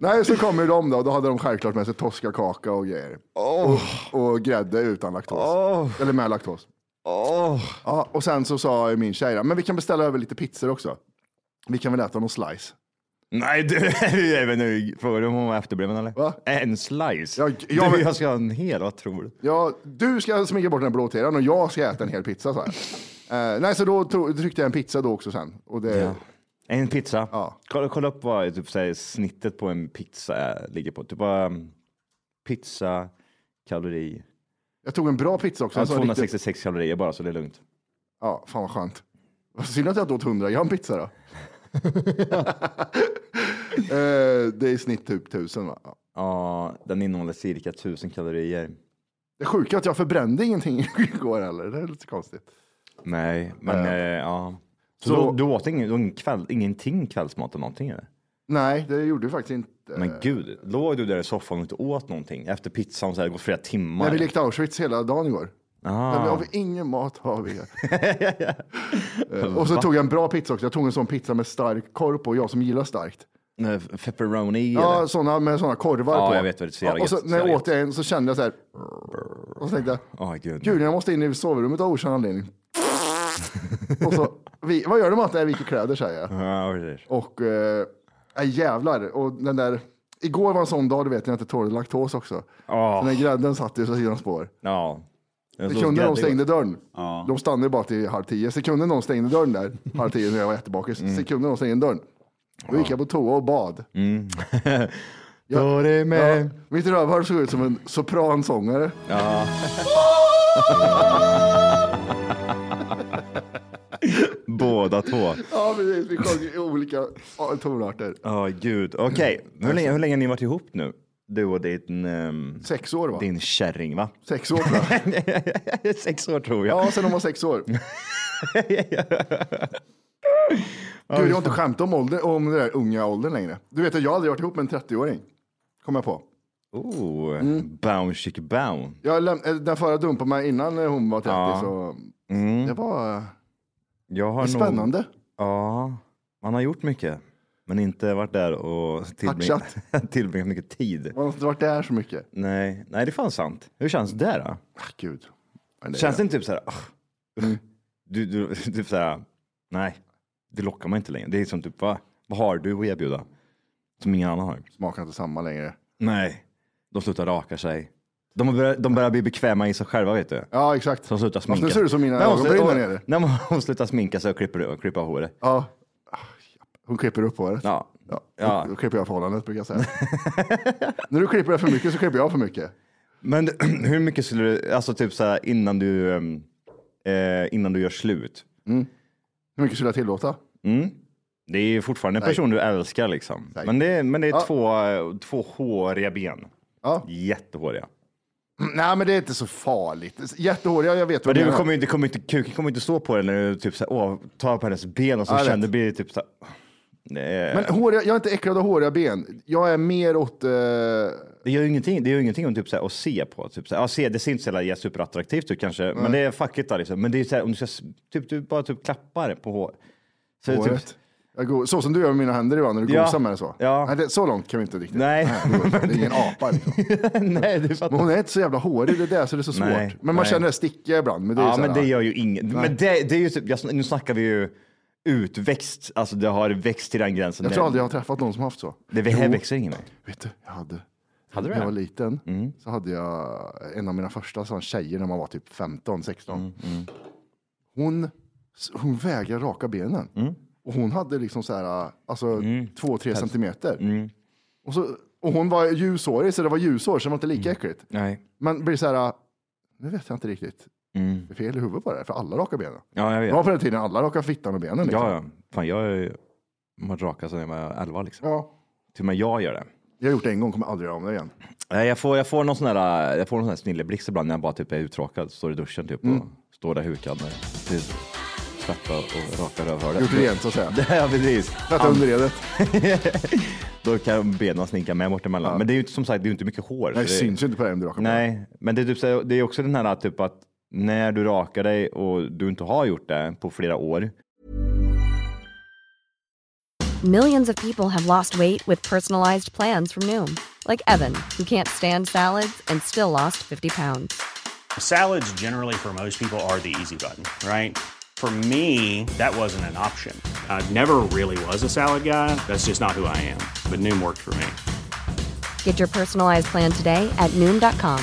Nej, så kommer de då. Då hade de självklart med sig toskakaka och grejer. Och, och grädde utan laktos. Eller med laktos. Ja, och sen så sa min tjej, men vi kan beställa över lite pizzor också. Vi kan väl äta någon slice.
Nej, du, även nu, frågar du om hon var efterbliven eller?
Va?
En slice?
Ja, ja,
du,
men-
jag ska ha en hel, vad tror du?
Ja, du ska smyga bort den blå teran och jag ska äta en hel pizza så här. Eh, nej, så då tro- tryckte jag en pizza då också sen. Och det,
Ja. En pizza?
Ja.
Kolla, kolla upp vad typ, så här, snittet på en pizza är, ligger på. Typ bara um, pizza, kalori.
Jag tog en bra pizza också.
Ja,
en sån Alltså, riktigt-
266 kalorier bara, så det är lugnt.
Ja, fan vad skönt. Vad Synd att jag inte åt 100 gram pizza då. Eh, det är i snitt typ 1000 va? Ja.
Ja, den innehåller cirka 1000 kalorier.
Det sjuka är att jag förbrände ingenting igår heller. Det är lite konstigt.
Nej, men
Ja.
ja. Eh, ja. Så,
Så-
du, du åt ingen, ingen kväll, ingenting kvällsmat eller någonting eller?
Nej, det gjorde jag faktiskt inte.
Men gud, låg du där i soffan och inte åt någonting efter pizzan så här, det går flera timmar?
Nej, vi lekte Auschwitz hela dagen igår.
Ah.
Men vi har vi ingen mat har vi. Eh, och så tog jag en bra pizza också. Jag tog en sån pizza med stark korv på, jag som gillar starkt.
Nej, Pepperoni
Ja,
eller?
såna, med såna korvar
Ja,
på.
jag vet vad det är. Så jävla
och så,
gött, så
när jag
jävla
åt en så kände jag så här. Och så tänkte jag,
Åh gud.
gud jag måste in i sovrummet av okänd anledning. och så, vi, vad gör du Matte? Jag viker kläder säger jag.
Ja, precis.
Och eh, äh, jävlar, och den där, igår var en sån dag du vet, när jag inte tålde laktos också.
Ja.
Så den grädden satt i sina spår.
Ja. Jag såg
Sekunden de
grädde
stängde
igår.
dörren,
Ja.
de stannade ju bara till halv tio. Sekunden de stängde dörren där, halv tio när jag var jättebakis, sekunden de stängde dörren, då gick jag på toa och bad.
Mm.
Ja.
Då är det med.
Mitt rövhål såg ut som en sopransångare.
Ja. Båda två.
Ja, precis. Vi sjöng i olika ja, tonarter.
Ja, gud. Okej,
Mm.
hur, länge, hur länge har ni varit ihop nu? Du och din, ehm,
Sex år, va?
din kärring, va?
Sex år, tror jag.
Sex år tror jag.
Ja, sen hon var sex år. Gud, jag har inte skämt om, ålder, om den där unga åldern längre. Du vet att jag har aldrig varit ihop med en 30-åring. Kommer jag på.
Oh, bound chick bound.
Jag läm- eh, den förra dumpade mig innan eh, hon var 30,
Ja.
så
Mm.
det var eh,
Jag har nog-
spännande.
Ja, man har gjort mycket. Men inte varit där och tillbring- tillbringat mycket tid.
Man har inte varit där så mycket.
Nej, nej, det är fan sant. Hur känns det där då?
Ah, Gud. Men det-
Känns det Mm. inte typ så här, "Ugh, du, du, typ så här, nej, det lockar man inte längre. Det är som typ, va, vad har du att erbjuda? Som ingen annan har.
Smakar inte samma längre.
Nej, de slutar raka sig. De börjar, de börjar bli bekväma i sig själva, vet du.
Ja, exakt.
Så de slutar sminka
nu ser
sig.
du som mina
När hon
ögonbryn
slutar-
där nere.
När man- hon slutar sminka sig och klipper, klippa håret.
Ja. Ah, Hon klipper upp håret.
Ja.
Ja.
Ja.
Då, då klipper jag förhållandet brukar jag säga. När du klipper det för mycket så klipper jag för mycket.
Men hur mycket skulle du, alltså typ så här innan du, ehm, eh, innan du gör slut.
Hur mycket skulle jag tillåta?
Det är ju fortfarande en person du älskar liksom. Men det, är- men det är två, eh, två håriga ben.
Ja.
Jättehåriga.
Nej, men det är inte så farligt. Jättehåriga, jag vet
Men
vad du
det
menar.
kommer ju inte, kommer inte, kuken kommer inte stå på dig när du typ så här, åh, tar på hennes ben och så
Ja, jag
känner
vet.
du blir det typ så här, nej.
Men håriga, jag är inte äcklad av håriga ben. Jag är mer åt... Eh,
Det gör ju ingenting, det gör ju ingenting om typ så här, att se på. Typ så här, ja, se, det ser inte så jävla ja, superattraktivt ut kanske, men det är fuck it, där, liksom. Men det är så här, om du ska, s- typ, du bara typ klappar på hår. Så det är
håret.
Typ,
Jag go- så som du gör med mina händer ibland när du
Ja.
gosar med det så.
Ja.
Nej, det, så långt kan vi inte riktigt.
Nej.
det, går inte. det är ingen apa. Liksom.
nej, du
Men
fattar.
hon är inte så jävla hårig, det är där så det är så svårt.
Nej,
men man
nej.
känner det stickiga ibland. Men det är
Ja,
så här,
men det gör ju inget. Men det, det är ju typ, jag, nu snackar vi ju utväxt, alltså det har växt till den gränsen.
Jag
Det-
tror aldrig jag har träffat någon som haft så.
Det vi här växer ingen mer.
Vet du, jag hade.
Hade du
när jag
det? Mm.
var liten så hade jag en av mina första sån tjejer när man var typ 15, 16.
Mm,
Hon, hon vägrade raka benen.
Mm.
Och hon hade liksom så här, alltså två, tre centimeter.
Mm.
Och, så, och hon var ljushårig, så det var ljushår, så det var inte
Mm.
lika äckligt.
Nej.
Men det blir så här, nu vet jag inte riktigt.
Mm.
Det är fel i huvudet på det här, för alla rakar benen.
Ja, jag
Det
vet.
var
Ja,
på den tiden alla rakade fittan och benen. Liksom.
ja. Fan, jag har ju varit raka sedan jag var 11 liksom.
ja.
Till och med jag gör det.
Jag har gjort det en gång, kommer aldrig göra om det igen.
Nej, jag får, jag får någon sån där, jag får någon sån här snilleblixt ibland när jag bara typ är uttråkad, står i duschen typ
Mm.
och står där hukad med typ tvättar och rakar rövhålet.
Gjort det rent så att säga.
Ja, precis.
Tvätta underredet.
Då kan benen slinka med bort emellan. Men det är ju inte- som sagt, det är ju inte mycket hår. så
Nej, det
det-
syns ju inte på dig om du rakar benen.
Nej, men det är, typ, så här- det är också den här typ att när du rakar dig och du inte har gjort det på flera år,
Millions of people have lost weight with personalized plans from Noom, like Evan, who can't stand salads and still lost 50 pounds.
Salads, generally, for most people, are the easy button, right? For me, that wasn't an option. I never really was a salad guy. That's just not who I am. But Noom worked for me.
Get your personalized plan today at Noom.com.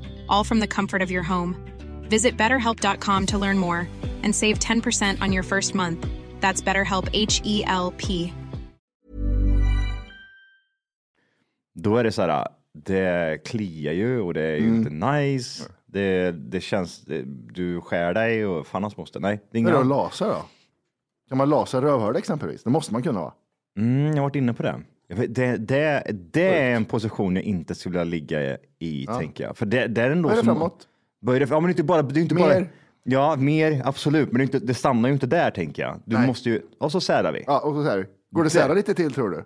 all from the comfort of your home. Visit betterhelp.com to learn more and save 10% on your first month. That's BetterHelp H E L P.
Då är det så här, det kliar ju och det är ju
Mm.
inte nice. Det, det känns, det, du skär dig och fan hans moster. Nej, det är
Hur
inga...
är det att lasa då? Kan man lasa rövhål exempelvis? Det måste man kunna va?
Mm, jag har varit inne på det. Jag vet, Det, det, det är en position jag inte skulle vilja ligga i,
Ja.
tänker jag. För det, det är ändå
Böj dig
som...
framåt.
Böj dig fram- Ja, men det är inte bara... Det är inte Bara,
Mer.
ja, mer, absolut. Men det, är inte, det stannar ju inte där, tänker jag. Du
Nej.
måste ju... Och så särar vi.
Ja, och så här. Går det att sära lite till tror du?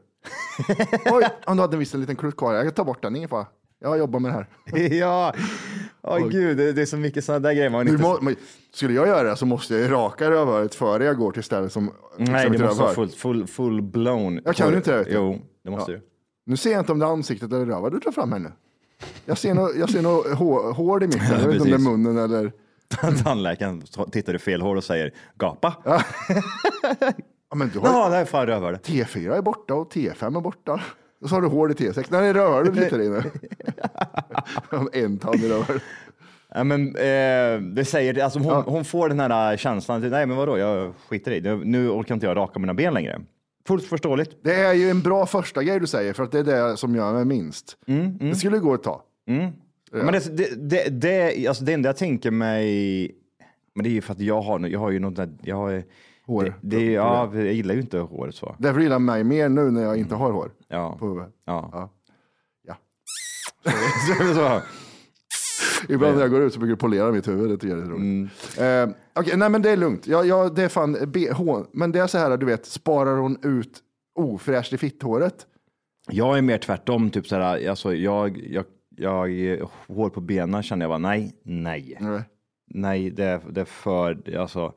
Oj, om du hade en viss liten klutt kvar. Jag kan ta bort den, ingen fara. Jag jobbar med det här.
ja, åh gud, det, det är så mycket sådana där grejer man
Du
inte...
må, men, skulle jag göra det så måste jag ju raka rövhålet före jag går till stället som...
Nej,
som ett
det måste vara full,
rövhål.
full, full blown.
Jag kan ju inte det. vet du.
Jo, det måste
Ja.
du.
Nu ser jag inte om det är ansiktet eller röva du tar fram här nu. Jag ser nog jag ser nog hår, hår i mitten. Jag vet inte om det är
Precis.
munnen eller...
Tandläkaren tittar i fel hål och säger gapa.
Ja, men du har ju...
Ja, det är fan rövhålet.
T4 är borta och T5 är borta. Och så har du hål i T6. Nej, det är rövhålet du sitter i nu. en tand i rövhålet.
Ja, men, eh, det säger, alltså, hon, hon får den här eh, känslan, att, nej men vadå, jag skiter i det. Nu orkar inte jag raka mina ben längre. Fullt förståeligt.
Det är ju en bra första grej du säger, för att det är det som gör mig minst. Det skulle gå ett tag. Ja.
Men det, det, det, det, alltså, det enda jag tänker mig, men det är ju för att jag har, jag har ju något där, jag har,
Hår.
Det, det, ja, jag gillar ju inte hår så.
Därför gillar man mig mer nu när jag inte har hår.
Ja.
På huvudet.
Ja.
Ja. Ja.
så.
Ibland när jag går ut så brukar jag polera mitt huvud. Det tycker jag är roligt. Eh, okej, nej, men det är lugnt. Jag, jag, det är fan BH. Men det är så här, du vet, sparar hon ut ofräscht i fitthåret?
Jag är mer tvärtom, typ såhär, alltså, jag, jag, jag, hår på benen känner jag bara nej, nej.
Nej.
Nej, det, är- det är för, alltså.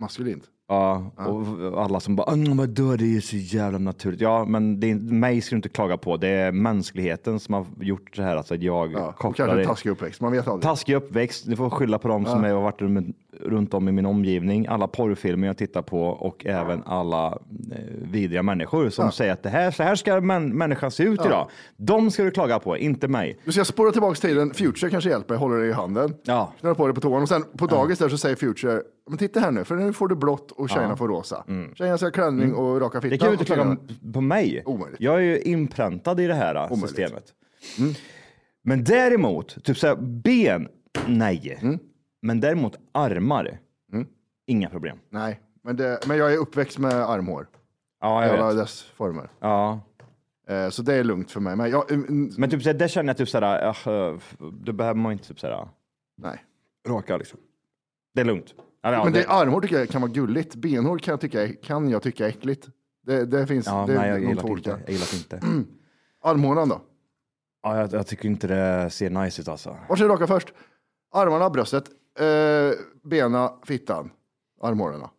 Maskulint.
Ja, och alla som bara, "Mm, vadå, det är ju så jävla naturligt. Ja, men det är, mig ska du inte klaga på. Det är mänskligheten som har gjort det här. Alltså att jag
Ja, och
kopplar
kanske
det.
en taskig uppväxt. Man vet aldrig.
Taskig uppväxt, du får skylla på dem som
Ja.
har varit runt- runt om i min omgivning. Alla porrfilmer jag tittar på och även alla eh, vidriga människor som
Ja.
säger att det här, så här ska män, människan se ut
Ja.
idag. De ska du klaga på, inte mig.
Du ska spåra tillbaka tiden. Future kanske hjälper. Håller dig i handen.
Ja.
Knurrar på dig på toan. Och sen på dagis där så säger Future, men titta här nu, för nu får du blått och tjejerna får rosa. Tjejerna ska ha klänning och raka fittan.
Mm. Det kan ju
och
inte klaga
killarna-
på mig.
Omöjligt. Mm.
Jag är ju inpräntad i det här äh, systemet. Men däremot, typ så här, ben, nej.
Mm.
Men däremot armar, inga problem.
Nej, men, det, men jag är uppväxt med armhår.
Ja, jag
Alla
vet.
dess former.
Ja.
Eh, Så det är lugnt för mig. Men jag, mm,
Men typ så här, där känner jag typ så här, ah, eh, då behöver man inte typ så här,
nej.
raka liksom. Det är lugnt. Eller, ja,
men det, armhår tycker jag kan vara gulligt. Benhår kan jag tycka, kan jag tycka är äckligt. Det, det finns...
ja,
det,
nej, jag
de
gillar det
två
inte.
olika. Mm.
Jag gillar det inte.
Armhålan då?
Ja, jag, jag tycker inte det ser nice ut alltså.
Var ska jag raka först? Armarna, bröstet, eh, bena, fittan, armhålorna.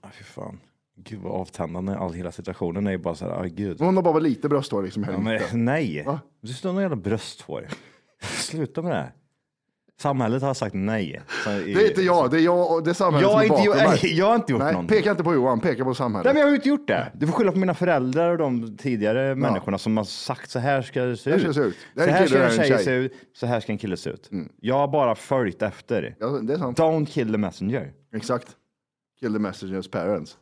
Ah, fy fan. Gud vad avtändande all hela situationen är ju bara så här, ah, gud.
Hon har bara lite brösthår liksom. här
Ja,
i
men,
mitten.
nej,
Va?
du står någon jävla brösthår. Sluta med det här. Samhället har sagt nej. Så i-
Det är inte jag, det är jag och det är samhället
Jag har
som är
inte
bakom
gjort-
mig.
jag har inte gjort
Nej,
någonting.
Peka inte på Johan, peka på samhället.
Nej, men jag har ju inte gjort det. Du får skylla på mina föräldrar och de tidigare människorna som har sagt så här ska det se
Det här
ut.
ska det se ut. Det här
Så
är en
här
kille,
ska
det
en
här är en
tjej
tjej. Mm.
se ut. Så här ska en kille se ut. Jag har bara följt efter.
Ja, det är sant.
Don't kill the messenger.
Exakt. Kill the messengers parents.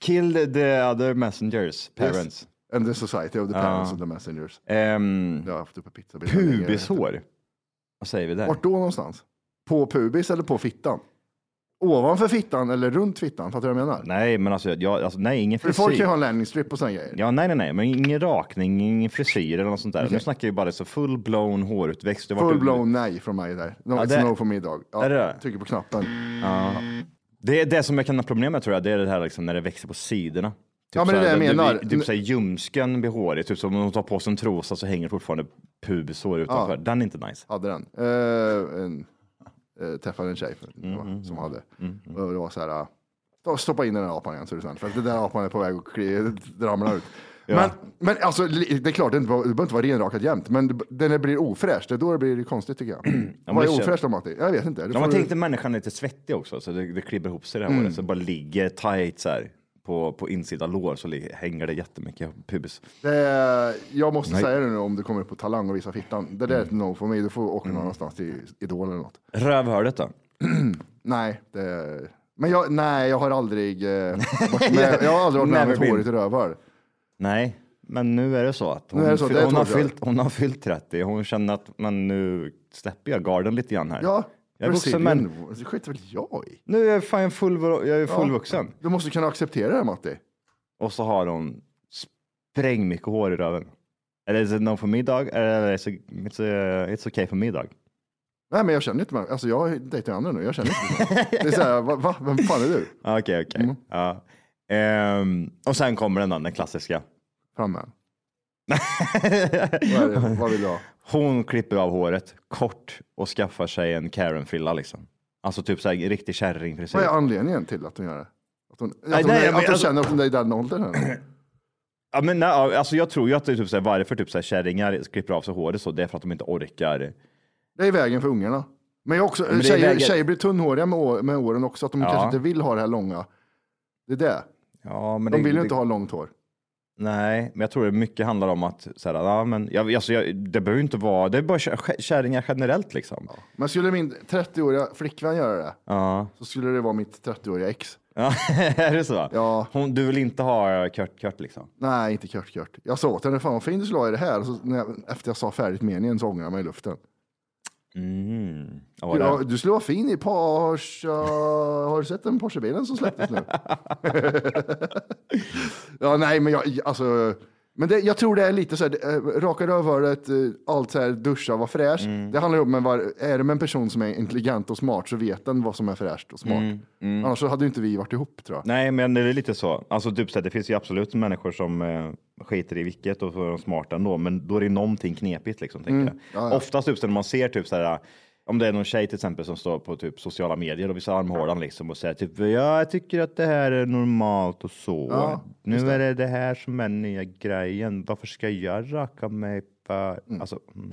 Kill the other messengers, parents.
Yes. And the society of the parents and the messengers.
Ehm,
Det har jag haft uppe på pizza.
pubishår. Vad säger vi där?
Vart då någonstans? På pubis eller på fittan? Ovanför fittan eller runt fittan? Fattar du vad jag menar?
Nej, men alltså, jag, alltså nej, ingen
För folk kan
frisyr.
ju ha en landningsstrip och sådana grejer.
Ja, nej, nej, nej, men ingen rakning, ingen frisyr eller något sånt där. Nu snackar vi bara så full-blown hårutväxt. Det har varit-
Full blown nej från mig där. No,
Ja,
it's
det- Typ
no från mig idag. Ja,
Är det det?
Trycker på knappen.
Ja. Det är det som jag kan ha problem med tror jag, det är det här liksom när det växer på sidorna. Typ
Ja, men det är
såhär,
det jag menar.
Typ såhär ljumsken blir hårig, typ som om hon tar på sig en trosa så hänger fortfarande pubisår utanför.
Ja.
Den är inte nice.
hade den. Eh, en, eh, träffade en tjej för,
Mm,
som hade. Och det var så här, eh, stoppa in den där apan igen så är det sant. För att den där apan är på väg att kli- ramla ut. Men, men alltså, li- det är klart, det inte var- det behöver inte vara renrakat jämt, men det- den där blir ofräsch, det är då det blir konstigt tycker jag.
men
Vad
det
är
känns-
ofräscht då, Matti? Jag vet inte. Det
Ja,
får
man
du-
tänkte människan är lite svettig också, så det, det klibbar ihop sig det här
Mm.
håret. Så det bara ligger tight så här. På, på insidan lår så ligger, hänger det jättemycket pubis.
Det är, jag måste
Nej. Mm.
säga det nu om du kommer upp på Talang och visar fittan. Det där är ett no för mig, du får åka någon annanstans till Idol eller något.
Rövhålet då?
Nej, det är... Men jag, nej, jag har aldrig eh, varit med, jag har aldrig varit med om
Never
ett
been.
hårigt rövhål.
Nej, men nu är det så att hon,
Nu är det så,
fyll-
det är
hon, har,
ett hårt rör.
fyllt, hon har fyllt 30. Hon känner att men nu släpper jag garden lite grann här.
Ja,
jag är vuxen, men
Brasilien. Det skiter väl jag i?
nu är jag fan full, jag är
Ja.
fullvuxen.
Du måste kunna acceptera det, Matti.
Och så har hon spräng mycket hår i röven. Eller is it no for me dog? Eller is it, it's, uh, it's okay for me dog?
Nej, men jag känner inte med Alltså, jag dejtar andra nu. Jag känner inte med Det är så här, va, va? Vem fan är du?
Okej, okej.
Mm.
Ja. Ehm, och sen kommer den, där, den klassiska.
Fram med vad, är det? vad vill du ha?
Hon klipper av håret kort och skaffar sig en Karen-frilla liksom. Alltså typ så här en riktig kärringfrisyr.
Vad är anledningen till att hon gör det? Att hon, att
Typ. Nej,
hon,
nej,
är,
men
att hon
alltså-
känner att hon är i den åldern? eller?
Ja, men nej, ja, alltså jag tror ju att det är typ så här, varför typ så här kärringar klipper av sig håret så, det är för att de inte orkar.
Det är vägen för ungarna. Men jag också,
men det är
tjejer,
vägen-
tjejer blir tunnhåriga med, å- med åren också, att de
Ja.
kanske inte vill ha det här långa. Det är det.
Ja, men
De
det-
vill ju
det-
inte ha långt hår.
Nej, men jag tror det mycket handlar om att så här, ja, men, jag, alltså, jag, det behöver ju inte vara, det är bara kär- kärringar generellt liksom.
Men skulle min 30-åriga flickvän göra det,
Ja.
så skulle det vara mitt 30-åriga ex.
ja. är det så? Ja. Hon, du vill inte ha kört, kört liksom?
Nej, inte Kurt Kurt. Jag sa åt henne, fan vad fin du skulle ha i det här. Och Så när jag, efter jag sa färdigt meningen så ångrade jag mig i luften.
Mm. Ja, vad är det?
Ja, du skulle vara fin i Porsche. Har du sett den Porsche-bilen som släpptes nu? ja, nej, men jag, alltså. Men det, jag tror det är lite så här, det, eh, raka rövhålet, eh, allt så här, duscha, vara fräsch.
Mm.
Det handlar ju om, var, är det med en person som är intelligent och smart så vet den vad som är fräscht och smart.
Mm, mm.
Annars så hade ju inte vi varit ihop tror jag.
Nej, men det är lite så. Alltså typ så här, det finns ju absolut människor som eh, skiter i vilket och så är de smarta ändå, men då är det någonting knepigt liksom, tänker
Mm.
jag.
Ja, ja.
Oftast typ så när man ser typ så här, om det är någon tjej till exempel som står på typ sociala medier och visar armhålan liksom och säger typ, ja, jag tycker att det här är normalt och så.
Ja,
nu är det det här som är nya grejen. Varför ska jag raka mig för? Alltså, mm.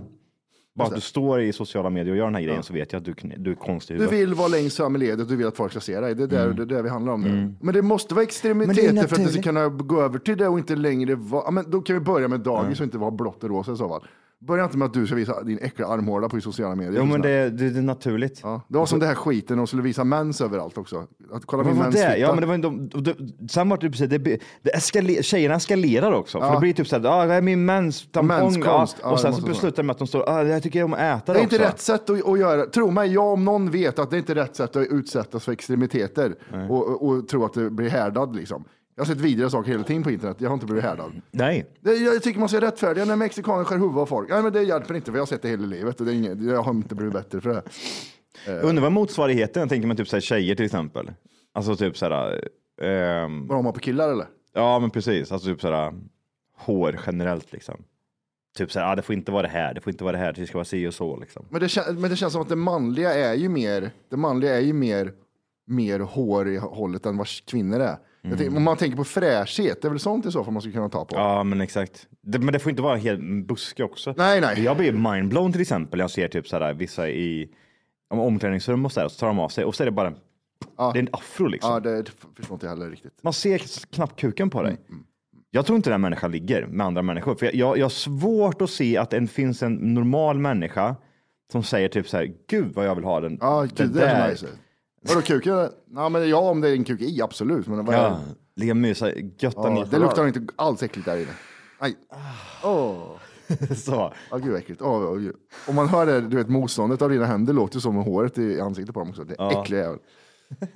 Bara att du står i sociala medier och gör den här grejen så vet jag att du, kn- du är konstig i
Du
huvudet.
vill vara längst fram i ledet, du vill att folk ska se dig. Det är där, det, är där vi handlar om nu. Men det måste vara
Mm. Men det är
extremiteter för att det ska
naturligt.
kunna gå över till det och inte längre vara... Ja, men då kan vi börja med dagis och inte vara blått och rosa i så fall. Börja inte med att du ska visa din äckliga armhåla på sociala medier.
Jo, men det, det, det är naturligt.
det var som det här skiten, de skulle visa mens överallt också. Att kolla min
Vad var
mens
det?
fitta.
Ja, men det var, de, de, de, sen var det typ så här, det, blir- det eskale, tjejerna eskalerar också. För
Ja.
det blir typ så här, ah, det är min mens, tampong. Ja.
Menskonst. Ja,
Och
det
sen så
måste vara.
beslutar de att de står, ah, jag tycker om att äta
Det
det
är inte
också.
rätt sätt att, att göra. Tro mig, jag om någon vet att det inte är rätt sätt att utsättas för extremiteter och, och, och tro att du blir härdad. Liksom. Jag har sett vidriga saker hela tiden på internet. Jag har inte blivit härdad.
Nej.
Det, jag tycker man ska rättfärdiga när mexikaner skär huvudet av folk. Nej, men det hjälper inte, för jag har sett det hela livet och det är inget, jag har inte blivit bättre för det. Eh.
Undrar vad motsvarigheten är, tänker man typ så här, tjejer till exempel. Alltså typ så här, ehm,
Vad de har på killar eller?
ja men precis, alltså typ så här, hår generellt liksom. Typ så här, ah, det får inte vara det här, det får inte vara det här, det ska vara si och så liksom.
Men det, kän- men det känns som att det manliga är ju mer, det manliga är ju mer, mer hår i hållet än vad kvinnor är. Jag tänker, om man tänker på fräschhet, det är väl sånt i så fall man skulle kunna ta på.
Ja men exakt. Det, men det får inte vara helt buske också.
Nej, nej.
Jag blir mindblown till exempel. Jag ser typ sådär vissa i om omklädningsrum och sådär, så tar de av sig och så är det bara en, det är en afro liksom.
Ja, det förstår inte jag heller riktigt.
Man ser k- knappt kuken på dig.
Mm,
Jag tror inte den här människan ligger med andra människor. För jag, jag, jag har svårt att se att det finns en normal människa som säger typ så här, gud vad jag vill ha den.
Ja,
den
gud, det är så nice. Vadå kuken? Ja, men ja, om det är en kuk i, absolut. Men vad är
Ja, ligga och mysa, götta
Ja,
ner på
det luktar
röven.
inte alls äckligt där inne. Aj. Åh,
så.
Ja, gud vad äckligt. Åh, åh, gud. Om man hör det, du vet, motståndet av dina händer låter ju som håret i ansiktet på dem också. Det är
Ja.
äckliga jävel.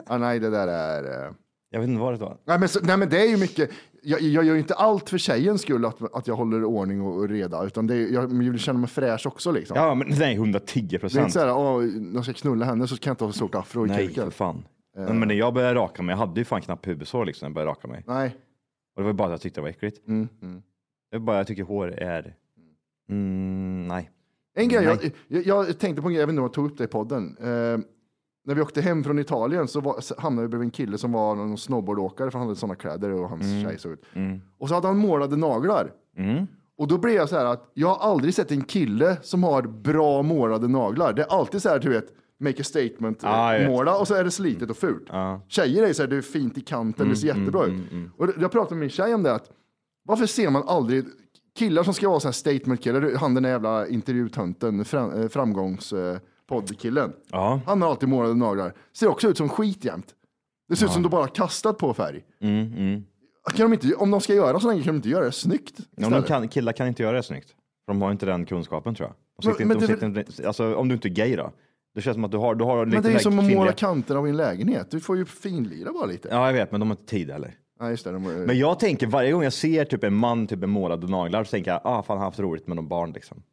Ah, nej, det där är... eh.
Jag vet inte vad det var.
Nej, men, så, nej, men det är ju mycket... Jag, jag gör ju inte allt för tjejens skull att, att jag håller ordning och, och reda, utan det, är- jag, jag vill känna mig fräsch också liksom.
Ja, men nej, 110
Det är inte
procent.
så här, åh, när jag ska knulla henne så kan jag inte ha så stort afro i
Nej,
kuken.
för fan. Men när jag började raka mig, jag hade ju fan knappt pubeshår liksom när jag började raka mig.
Nej.
Och det var bara att jag tyckte det var äckligt.
Mm,
Det är bara, jag tycker hår är... Mm, nej.
En grej, jag,
Nej.
jag, jag tänkte på en grej, jag vet inte om jag tog upp det i podden. Eh, när vi åkte hem från Italien så var, så hamnade vi bredvid en kille som var någon snowboardåkare, för han hade sådana kläder och hans
Mm.
tjej såg ut.
Mm.
Och så hade han målade naglar.
Mm.
Och då blev jag så här att jag har aldrig sett en kille som har bra målade naglar. Det är alltid så här, du vet, make a statement, eh,
Ja, Ah, jag vet. Ah.
måla och så är det slitet och fult. Tjejer är så här, det är fint i kanten, det ser
Mm,
jättebra
mm,
ut. Och jag pratade med min tjej om det, att varför ser man aldrig killar som ska vara så här statement-killar, han den där jävla intervjutönten, fram, eh, framgångs... eh, poddkillen. Han har alltid målade naglar. Ser också ut som skit jämt. Det ser ut som de bara har kastat på färg.
Mm, mm.
Kan de inte, om de ska göra sådana grejer kan de inte göra det snyggt.
Ja, men de kan, killar kan inte göra det snyggt. För de har inte den kunskapen tror jag. De sitter
Men-
inte,
men
de sitter inte, alltså, om du inte är gay då. Det känns som att du har, du har lite
Men det
den
är ju
här
som att måla
kvinnliga-
kanter av en lägenhet. Du får ju finlira bara lite.
Ja, jag vet, men de har inte tid heller.
Nej, just det, de,
Men jag tänker varje gång jag ser typ en man typ med målade naglar så tänker jag, ah fan han har haft roligt med någon barn liksom.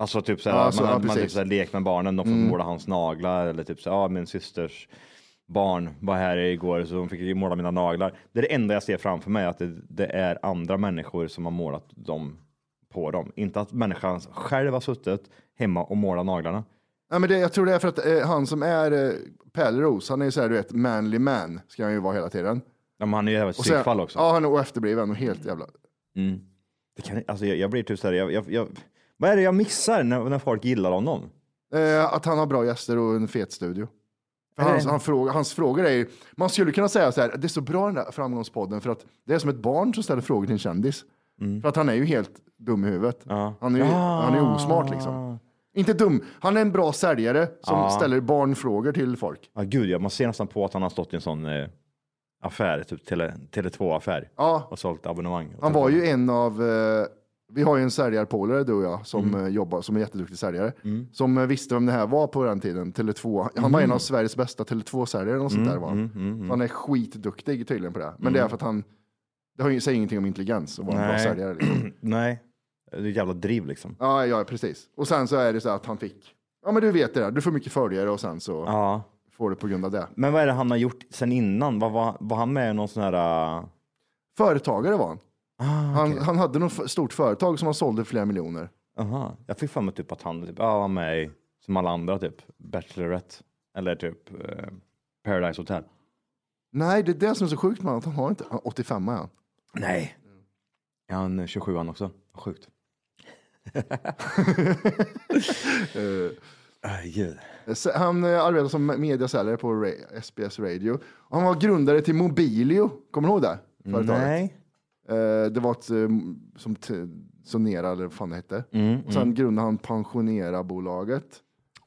Alltså typ såhär,
Ja, alltså,
man,
ja,
man typ
precis.
såhär, lek med barnen, de får
Mm.
måla hans naglar eller typ såhär, ah min systers barn var här igår så de fick måla mina naglar. Det är det enda jag ser framför mig, att det, det är andra människor som har målat dem på dem. Inte att människan själv har suttit hemma och målat naglarna.
Nej, men det, jag tror det är för att eh, han som är eh, Pärleros, han är ju så här, du vet, manly man, ska han ju vara hela tiden.
Ja, men han är ju jävla
Och så är-
psykfall också.
Ja, han är och efterbliven och helt jävla...
Mm. Det kan, alltså, jag, jag blir typ såhär, jag, jag, jag, vad är det jag missar när, när folk gillar honom?
Eh, att han har bra gäster och en fet studio. För
Är det-
hans, han fråga, hans frågor är ju, man skulle kunna säga så här, det är så bra den där framgångspodden för att det är som ett barn som ställer frågor till en kändis.
Mm.
För att han är ju helt dum i huvudet. Han, är ju,
Ah.
han är osmart liksom. Inte dum, han är en bra säljare som
Ja.
ställer barnfrågor till folk.
Ja, gud ja, man ser nästan på att han har stått i en sån eh, affär, typ Tele, Tele2-affär och sålt abonnemang.
Han var ju en av, eh, vi har ju en säljarpolare du och jag som
Mm.
eh, jobbar, som är jätteduktig säljare. Som eh, visste vem det här var på den tiden, Tele2. Han var en
Mm.
av Sveriges bästa Tele2-säljare eller något sånt
Mm,
där var han.
mm, mm, mm.
Så han är skitduktig tydligen på det. Men
Mm.
det är för att han, det har ju, säger ingenting om intelligens och vara en bra
Nej.
säljare. Liksom.
Nej, det är ett jävla driv liksom.
Ja, ja, precis. Och sen så är det så att han fick, ja men du vet det där, du får mycket följare och sen så
Ja.
får du på grund av det.
Men vad är det han har gjort sen innan? Vad var, var han med i någon sån här... eh,
Företagare var han.
Ah,
han, han hade något f- stort företag som han sålde för flera miljoner.
Aha. Jag fick för mig typ att han typ, ja, var med i, som alla andra, typ Bachelorette eller typ eh, Paradise Hotel.
Nej, det är det som är så sjukt med honom, att han har inte, han- 85 är han.
Nej. Är han eh, 27 han också? Sjukt.
Eh,
Ah, gud.
se- Han eh, arbetade som mediasäljare på ra- SBS Radio. Han var grundare till Mobilio, kommer du ihåg det? Företaget.
Nej.
Eh, Det var ett eh, som t- Sonera eller vad fan det hette.
Mm,
Och sen
mm.
grundade han Pensionera-bolaget.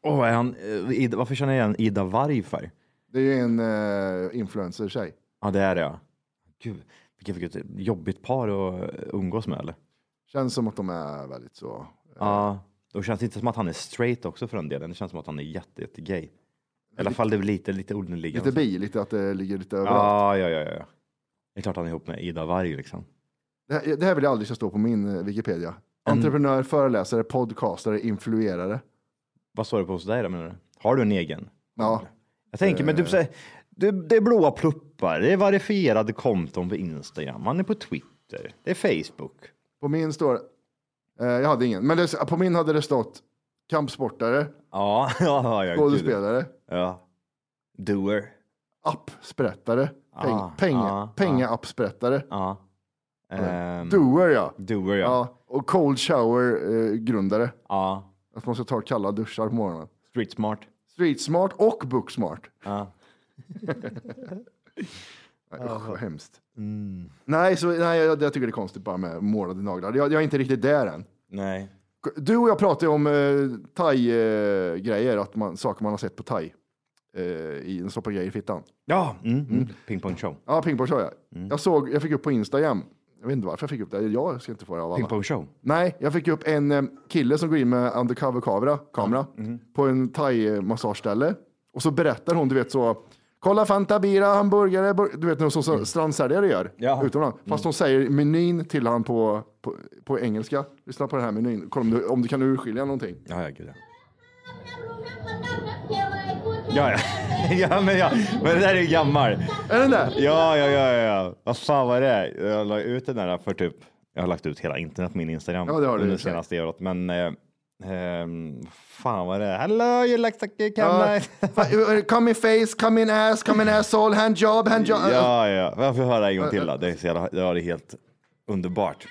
Åh, är han, eh, Ida, varför känner jag igen Ida Vargfärg?
Det är ju en eh, influencer-tjej.
Ja, det är det ja. Gud, vilket, vilket jobbigt par att eh, umgås med eller?
Känns som att de är väldigt så.
Ja, då känns det inte som att han är straight också för den delen. Det känns som att han är jätte, jätte gay. I alla fall det är väl lite, lite underliggande.
Lite bi, lite att det ligger lite överallt.
Ja, ja, ja, ja. ja. Det är klart han är ihop med Ida Varg liksom.
Det, här, det här vill jag aldrig ska stå på min eh, Wikipedia. Entreprenör, föreläsare, podcastare, influerare.
Vad står det på hos dig då menar du? Har du en egen?
Ja.
Jag tänker, men du,
Eh.
säger- du, det är blåa pluppar, det är verifierade konton på Instagram, han är på Twitter, det är Facebook.
På min står eh, jag hade ingen, men det, på min hade det stått kampsportare,
Ja, ja, ja.
skådespelare,
Ja. Doer.
appsprättare, peng,
Ah,
peng,
ah, Mm.
penga-appsprättare.
Ja. Ehm,
Doer ja.
Doer ja.
ja. Och cold shower-grundare.
Ja.
Att man ska ta kalla duschar på morgonen.
Street smart.
Street smart och book smart.
Ja.
Nej, usch, vad hemskt.
Mm.
Nej, så, nej jag, jag tycker det är konstigt bara med målade naglar. Jag, jag är inte riktigt där än.
Nej.
Du och jag pratade ju om eh, thai-grejer, att man, saker man har sett på thai. Eh, i, stoppa grejer i fittan.
Ja, mm, mm. pingpong show.
Ja, pingpong show ja.
Mm.
Jag såg, jag fick upp på Instagram, jag vet inte varför jag fick upp det, jag ska inte få det av alla.
Pingpong show.
Nej, jag fick upp en eh, kille som går in med undercover-kamera kamera,
Mhm.
på en thai-massageställe. Och så berättar hon, du vet så, kolla Fanta, bira, hamburgare, bur-" du vet något som mm. strandsäljare gör utomlands.
Mm.
Fast hon säger menyn till han på, på, på engelska. Lyssna på den här menyn, kolla om du, om du kan urskilja någonting.
Ja, ja, gud ja. Ja, ja. ja, men, ja. men den där är ju gammal.
Är den det?
Ja, ja, ja, ja. ja. Vad fan var det? Jag la ut den där för typ, jag har lagt ut hela internet på min Instagram
Ja, det har du
under
gjort.
senaste året. Men eh, ehm, fan var det? Hello you like to come
Ja. Fa- come in face, come in ass, come in asshole, hand job, hand job.
Ja, ja. Jag får höra en gång till då. Det är, så jävla, ja, det är helt underbart.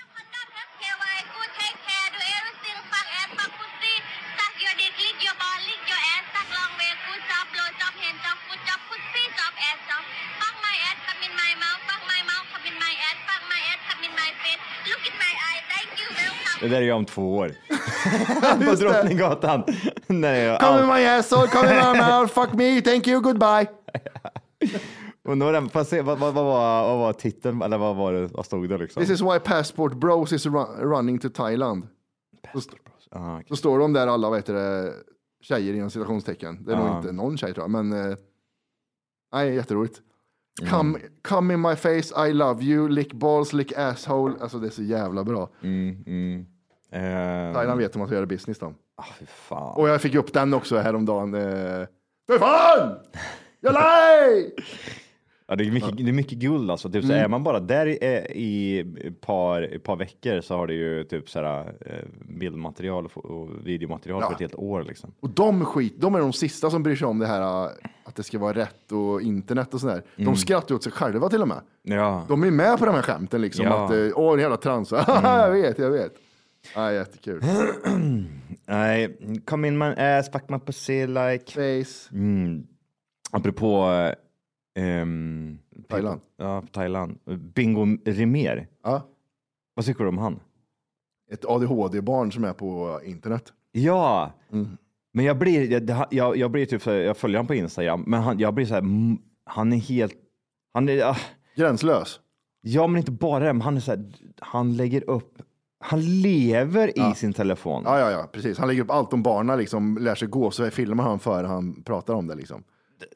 Det där är jag om två år. På Drottninggatan. Nej, jag,
Come in my asshole, come in my mouth, fuck me, thank you, goodbye.
Undrar vad, den- får jag se, vad, vad, vad, var- vad var titeln, eller vad, var det, vad stod det liksom?
This is why passport bros is run, running to Thailand. Passport bros.
Ah, okej.
Så står de där alla, vad heter det, tjejer inom citationstecken. Det är nog
Ja.
inte någon tjej tror jag, men eh, nej, jätteroligt. Come, come in my face, I love you, lick balls, lick asshole. Alltså det är så jävla bra.
Mm, mm. Eh,
Thailand vet hur man ska göra business då.
ah, fy fan.
Och jag fick upp den också häromdagen. eh, Fy fan! Jag lej!
Ja, det, är mycket, det är mycket guld alltså. Typ, så
Mm.
är man bara där i, eh, i ett par, ett par veckor så har du ju typ så här, eh, bildmaterial och, fo- och videomaterial för
Ja.
ett helt år liksom.
Och de skit, de är de sista som bryr sig om det här eh, att det ska vara rätt och internet och sådär. De skrattar åt sig själva till och med.
Ja.
De är med på de här skämten liksom.
Ja. Mm.
Att, eh, Åh, en jävla trans. jag vet, jag vet. Ja, jättekul.
Nej, come in my ass, fuck my pussy like.
Face.
Mm. Apropå eh, ehm,
Thailand.
Ja, Thailand. Bingo Rimér.
Ja.
Vad tycker du om han?
Ett ADHD-barn som är på internet.
Ja,
Mm.
men jag blir, jag- det- jag, jag blir typ så här, jag följer honom på Instagram, men han, jag blir så här, mm, han är helt, han är, ah,
Gränslös.
ja men inte bara det, men han är så här, han lägger upp, han lever i sin telefon.
Ja, ja, ja, precis. Han lägger upp allt om barnen, liksom, lär sig gå, så filmar han före han pratar om det. Liksom.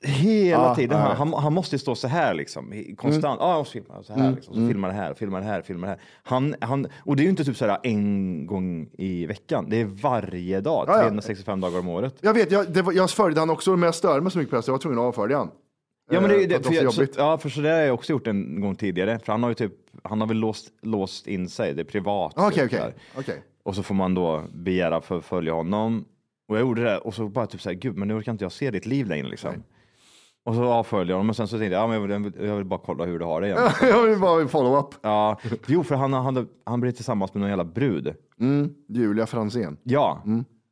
Hela
Ja,
tiden,
ja,
han,
ja.
han, han måste ju stå så här liksom, i- konstant, ja jag måste filma så här
Mm,
liksom, så
mm.
filmar det här, filmar det här, filmar det här. Han, han, och det är ju inte typ så här en gång i veckan, det är varje dag,
Ja, Eh, ja.
365 dagar om året.
Jag vet, jag, det var, jag följde han också, men jag störde mig så mycket på det så jag var tvungen att avfölja han.
Ja, men det,
Eh,
det,
för
för
att det var
jag,
så
så,
jobbigt.
ja, för så där har jag också gjort en gång tidigare. För han har ju typ, han har väl låst, låst in sig, det är privat.
Ah, Okej,
typ
okej.
där.
okej.
Och så får man då begära för att följa honom. Och jag gjorde det och så bara typ så här, gud, men nu orkar inte jag se ditt liv längre liksom. Och så avföljde jag honom och sen så tänkte jag, ja, men jag, vill, jag vill bara kolla hur du har det igen.
jag vill bara ha en follow-up.
ja, jo, för han, han, han blev tillsammans med någon jävla brud.
Mm, Julia Franzén.
Ja,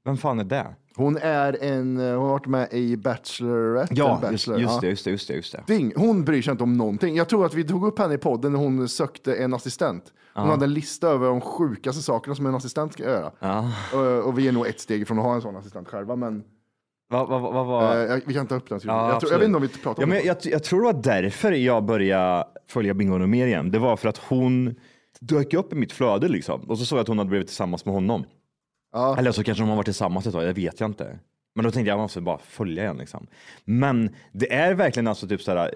vem fan är det?
Hon är en, eh, hon har varit med i Bachelorette.
Ja,
eller
just,
Bachelor,
just det,
ja.
just det, just det, just det.
Ding. Hon bryr sig inte om någonting. Jag tror att vi tog upp henne i podden när hon sökte en assistent. Hon
Ja.
hade en lista över de sjukaste sakerna som en assistent ska göra.
Ja.
Och, och vi är nog ett steg ifrån att ha en sån assistent själva, men
Vad va, va, va,
eh,
va?
jag, vi kan ta upp den.
Ja,
jag, tror, jag
absolut.
vet inte om vi pratar
ja,
om
men
det.
jag, jag tror det var därför jag började följa Bingo och mer igen. Det var för att hon dök upp i mitt flöde liksom. Och så såg jag att hon hade blivit tillsammans med honom.
Ja.
Eller så kanske de har varit tillsammans ett tag, det vet jag inte. Men då tänkte jag, jag måste bara följa igen liksom. Men det är verkligen alltså typ så här.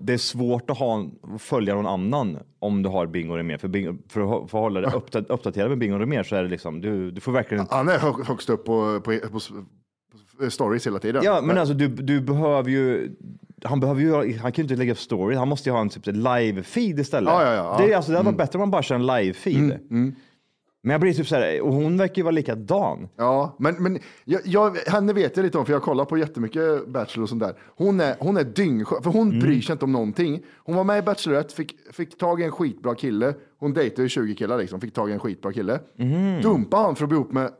Det är svårt att ha, följa någon annan om du har Bingo och mer. För, bingo, för att hå- för att hålla dig uppda- uppdaterad med Bingo och mer så är det liksom, du, du får verkligen
Han är hö- högst upp på, på, på, på stories hela tiden.
Ja, men alltså du, du behöver ju... Han, behöver ju, han kan ju inte lägga upp story, han måste ju ha en typ live-feed istället.
Ja, ja, Mm. ja.
Det, är, alltså, det hade varit bättre om man bara kör en live-feed. Men jag blir typ så här, och hon verkar ju vara likadan.
Ja, men, men jag, jag, henne vet jag lite om, för jag kollar på jättemycket Bachelor och sånt där. Hon är, hon är dyngskön, för hon bryr sig inte om någonting. Hon var med i Bachelorette, fick, fick tag i en skitbra kille. Hon dejtade ju 20 killar liksom, fick tag i en skitbra kille. Mm. Dumpade han för att bli ihop med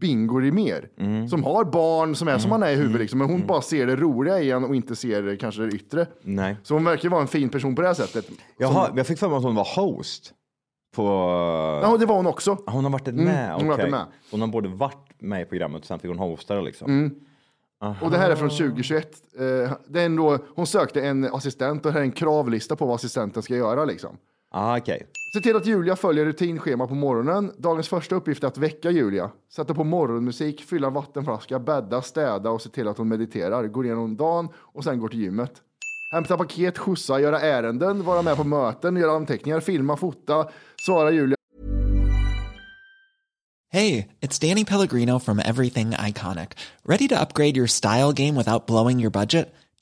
Bingo Rimér, som har barn som är som han är i huvudet, liksom, men hon bara ser det roliga i han och inte ser kanske det yttre.
Nej.
Så hon verkar ju vara en fin person på det här sättet.
Jaha, Mm. jag fick för mig att hon var host. På...
Ja, det var hon också.
Hon har varit med,
Mm, hon har varit
okej.
med. Mm.
Hon har både varit med i programmet och sen fick hon hosta det liksom.
Och det här är från 2021. Eh, det är ändå, hon sökte en assistent och här är en kravlista på vad assistenten ska göra. Liksom.
Ah, okej.
Se till att Julia följer rutinschema på morgonen. Dagens första uppgift är att väcka Julia. Sätta på morgonmusik, fylla en vattenflaska, bädda, städa och se till att hon mediterar. Går igenom dagen och sen går till gymmet. Hämta paket, skjutsa, göra ärenden, vara med på möten, göra anteckningar, filma, fota, svara Julia
Hey, it's Danny Pellegrino from Everything Iconic. Ready to upgrade your style game without blowing your budget?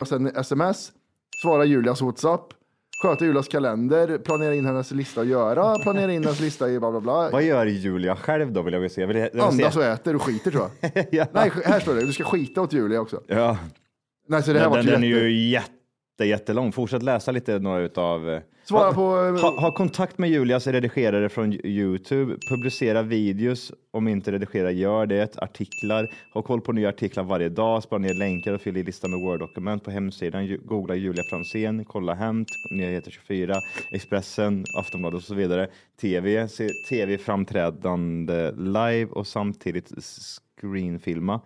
Och sen sms, svara Julias WhatsApp, sköta Julias kalender, planera in hennes lista att göra, planera in hennes lista i bla bla bla.
Vad gör Julia själv då vill jag väl se? Vill jag, vill jag
Andas
se?
och äter och skiter tror jag. alltså, Nej, sk- här står det, du ska skita åt Julia också.
Ja.
Nej, så det här
den,
vart
den,
ju
den är
jätte...
ju jätte, jättelång. Fortsätt läsa lite några utav... ha,
Svara på- eh,
Ha, ha kontakt med Julias redigerare från Youtube. Publicera videos om inte redigerare gör det. Artiklar. Ha koll på nya artiklar varje dag. Spara ner länkar och fyll i listan med Word-dokument på hemsidan. Ju- Googla Julia Franzén. Kolla Hämt. Nyheter 24. Expressen. Aftonbladet och så vidare. TV. Se TV-framträdande live och samtidigt screenfilma.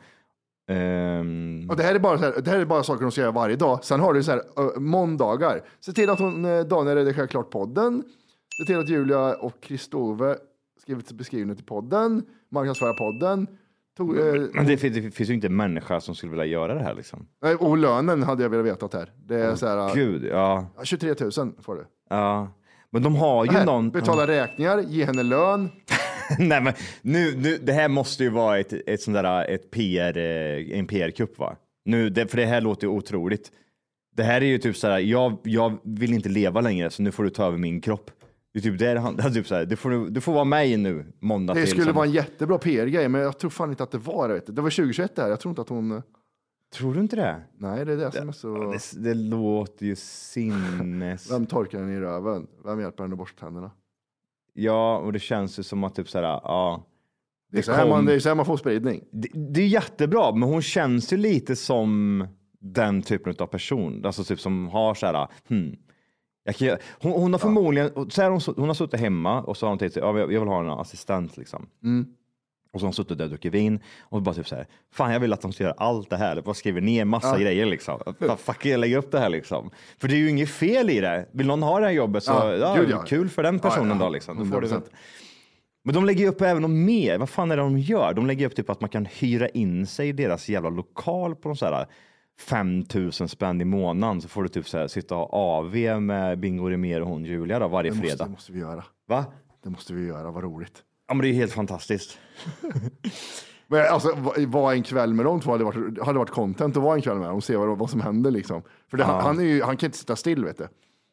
Ehm,
Och det, här är bara så här, det här är bara saker hon ska göra varje dag. Sen har du så här, ö, måndagar. Se till att hon, eh, Daniel redigerar klart podden. Se till att Julia och Kristove skrivit beskrivningen till podden. Marknadsföra podden. Tog, eh,
Men det, fin- det finns ju inte en människa som skulle vilja göra det här liksom.
nej, och lönen hade jag velat veta här. Det är så här,
Gud, ja.
eh, 23 000 får du.
ja. Men de har ju
Här,
någon...
Betala räkningar, ge henne lön.
Nej, men nu, nu, det här måste ju vara ett, ett sånt där, ett PR, eh, en PR-kupp va? Nu, det, för det här låter ju otroligt. Det här är ju typ så här, jag, jag vill inte leva längre så nu får du ta över min kropp. Det är typ det det handlar typ så här, du får, du- du får vara mig nu måndag
Det
till.
skulle
söndag.
vara en jättebra PR-grej, men jag tror fan inte att det var det. Vet du. Det var 2021 det här. Jag tror inte att hon...
Tror du inte det?
Nej, det är det som är så...
Det, det låter ju sinnes...
Vem torkar henne i röven? Vem hjälper henne att borsta tänderna?
Ja, och det känns ju som att typ så här, ja.
Det är så här man- det är så här man får spridning.
Det, det är jättebra, men hon känns ju lite som den typen av person. Alltså typ som har så här, hmm. Jag kan, göra- hon, hon har förmodligen, så här, hon, hon har suttit hemma och så har hon tänkt sig, ja, men jag jag vill ha en assistent liksom.
Mm.
Och så har hon suttit där och druckit vin och bara typ så här, fan jag vill att de ska göra allt det här. Bara skriver ner massa
Ja.
grejer liksom. Fan, fuck jag lägger upp det här liksom. För det är ju inget fel i det. Vill någon ha det här jobbet så,
Ja,
ja,
gud, ja.
kul för den
Ja,
personen
ja,
då liksom. Då får du-
100%.
men de lägger ju upp även om mer. Vad fan är det de gör? De lägger upp typ att man kan hyra in sig i deras jävla lokal på de så här 5000 spänn i månaden så får du typ så här, sitta och ha AV med Bingo Rimér och hon Julia då, varje
Det måste,
fredag.
det måste vi göra.
Va?
Det måste vi göra, vad roligt.
Ja men det är ju helt fantastiskt.
Men alltså, vad- vad en kväll med dem två hade varit, hade varit content att vara en kväll med dem och se vad, vad som händer liksom. För det,
Ja.
han, han, är ju, han kan inte sitta still vet du.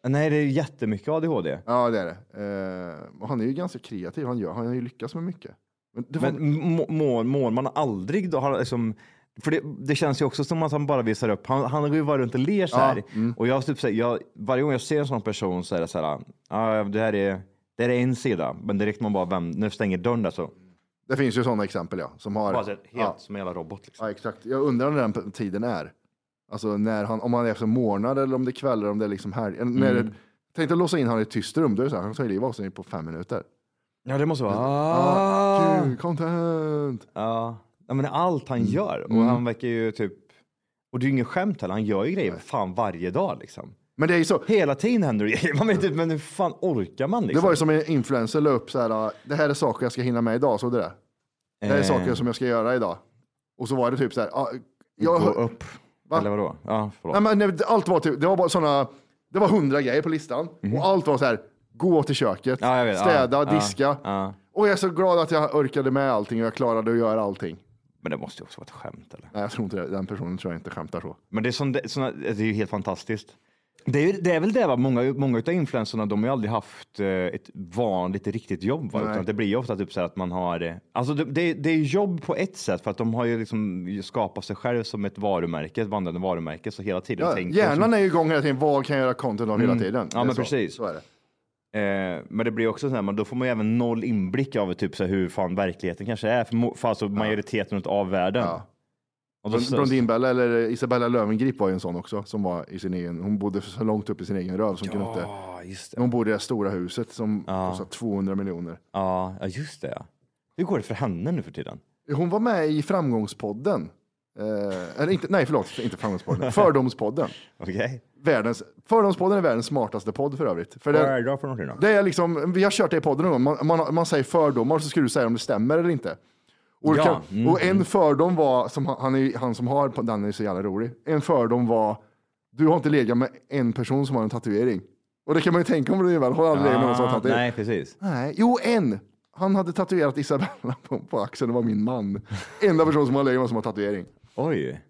Nej det är ju jättemycket ADHD.
Ja, det är det. Eh, och han är ju ganska kreativ, han, gör, han har ju lyckats med mycket. Men det var,
Men må- mår, mår man aldrig då? Har liksom, för det, det känns ju också som att han bara visar upp. Han, han går ju bara runt och ler så
Ja, mm.
här. Och jag, typ, så här, jag, varje gång jag ser en sån person så är det så här. "Ja, det här är, det här är en sida, men direkt man bara vänder, när du stänger dörren där så.
det finns ju sådana exempel ja. Som har,
Bara så här, helt
ja,
som en jävla robot. Liksom.
ja, exakt. Jag undrar när den p- tiden är. Alltså när han, om han är så morgnar eller om det är kvällar, om det är liksom helg. När
Mm.
det- Tänk dig att låsa in han i ett tyst rum, då är det så här, han tar ju livet av sig på fem minuter.
Ja, det måste vara.
Ah,
Ah,
kul, content!
ja. ja, men allt han
Mm.
gör. Och han verkar ju typ. Och det är ju inget skämt heller. Han gör ju grejer fan varje dag liksom.
Men det är ju så.
Hela tiden händer det grejer. Man vet inte, men hur fan orkar man liksom?
Det var ju som en influencer la upp så här, ah, det här är saker jag ska hinna med idag, såg du det? Det här är
Eh.
saker som jag ska göra idag. Och så var det typ så här, ah, jag,
Gå upp.
Va?
Eller vadå? Ja, förlåt.
nej, men, nej, allt var typ, det var bara sådana, det var hundra grejer på listan och allt var så här, gå till köket,
Mhm. Ja, jag vet.
städa,
Ja, ja,
diska.
ja.
Och jag är så glad att jag orkade med allting och jag klarade att göra allting.
Men det måste ju också vara ett skämt eller?
Nej, jag tror inte det. Den personen tror jag inte skämtar så.
Men det är, som, det, såna, det är ju helt fantastiskt. Det är, ju- det är väl det, va? många, många av influencerna de har ju aldrig haft eh, ett vanligt riktigt jobb. Va?
Nej.
Utan det blir ju ofta typ så här att man har, eh, alltså det, det, det är jobb på ett sätt för att de har ju liksom skapat sig själv som ett varumärke, ett vandrande varumärke. Så hela tiden
Ja,
tänker
hjärnan är ju igång hela tiden. Vad kan jag göra content av hela
Mm.
tiden?
Ja,
Det är
men
så.
precis.
Så är det.
Eh, men det blir också så här, men då får man ju även noll inblick över typ så här, hur fan verkligheten kanske är för, mo- för alltså majoriteten av världen. Och då-
Bron- Blondinbella eller Isabella Löwengrip var ju en sån också som var i sin egen. Hon bodde så långt upp i sin egen röv som kunde inte.
Ah,
Hon bodde i det stora huset som kostade 200 miljoner.
Ja, ja, just det. ja. Hur går det för henne nu för tiden?
Hon var med i Framgångspodden. Eh, eller inte, nej, förlåt, inte Framgångspodden. Fördomspodden.
Okej.
Världens, fördomspodden är världens smartaste podd för övrigt. För
Vad
den-
är det då för någonting då?
Det är liksom, vi har kört det i podden någon gång. Man, man, man säger fördomar så ska du säga om det stämmer eller inte. Och, det
Ja,
kan,
mm,
och en fördom var, som han, han, är, han som har på- den är så jävla rolig. En fördom var, du har inte legat med en person som har en tatuering. Och det kan man ju tänka om det är väl, har aldrig legat med någon som har
Ah,
tatuering.
Nej, precis.
Nej, jo en. Han hade tatuerat Isabella på, på axeln, det var min man. Enda person som har legat med som har tatuering.
Oj.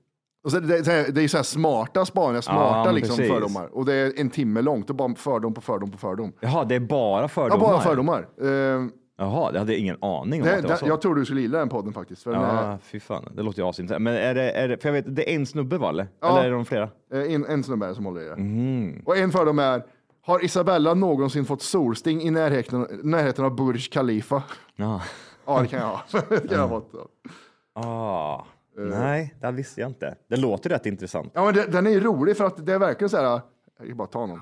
Och så, det, det, det är så här smarta spaningar, smarta
men
liksom,
precis.
fördomar. Och det är en timme långt och bara fördom på fördom på fördom.
Jaha, det är bara fördomar?
Ja, bara fördomar. Eh,
Jaha, det hade jag ingen aning om
det,
att det var
det,
så.
jag tror du skulle gilla den podden faktiskt. För den
Ja,
är,
fy fan. Det låter ju asintressant. Men är det, är det, för jag vet, det är en snubbe va? Eller,
Ja.
eller är de flera?
eh, en, en snubbe är det som håller i det.
Mhm.
Och en fördom är, har Isabella någonsin fått solsting i närheten, närheten av Burj Khalifa?
Ja.
Ja, det kan jag ha. det kan jag ha fått.
Ah,
Eh.
nej, det här visste jag inte. Det låter rätt intressant.
Ja, men det, den är ju rolig för att det är verkligen så här, jag kan bara ta någon.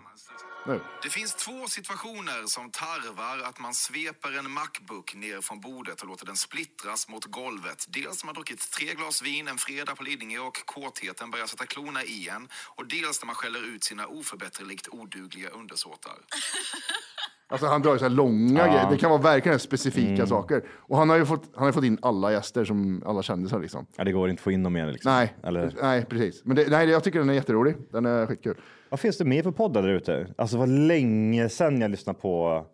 Nu.
Det finns två situationer som tarvar att man sveper en Macbook ner från bordet och låter den splittras mot golvet. Dels när man druckit tre glas vin en fredag på Lidingö och kåtheten börjar sätta klorna i en. Och dels när man skäller ut sina oförbätterligt odugliga undersåtar.
Alltså han drar ju så här långa
Ja.
grejer. Det kan vara verkligen specifika
Mm.
saker. Och han har ju fått, han har fått in alla gäster, som alla kändisar liksom.
Ja, det går inte att få in dem igen liksom.
Nej,
Eller?
nej precis. Men det, nej, jag tycker den är jätterolig. Den är skitkul.
Vad finns det mer för poddar där ute? Alltså vad länge sedan jag lyssnade på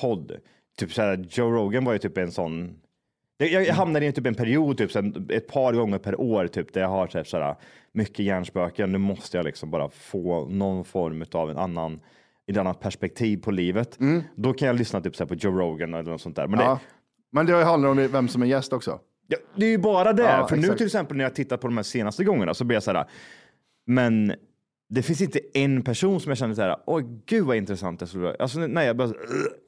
podd. Typ så här, Joe Rogan var ju typ en sån. Jag, jag hamnade i typ en period, typ så här, ett par gånger per år, typ där jag har så här, så här, mycket hjärnspöken. Nu måste jag liksom bara få någon form av en annan, ett annat perspektiv på livet. Då kan jag lyssna typ så här, på Joe Rogan eller något sånt där. Men
Men
det,
det, ja. men det handlar om vem som är gäst också.
Ja, det är ju bara det.
Ja,
för nu
exakt.
till exempel när jag tittar på de här senaste gångerna så blir jag så här. Men det finns inte en person som jag känner så här. Åh, gud vad intressant det skulle vara. Alltså, nej, jag bara. Jag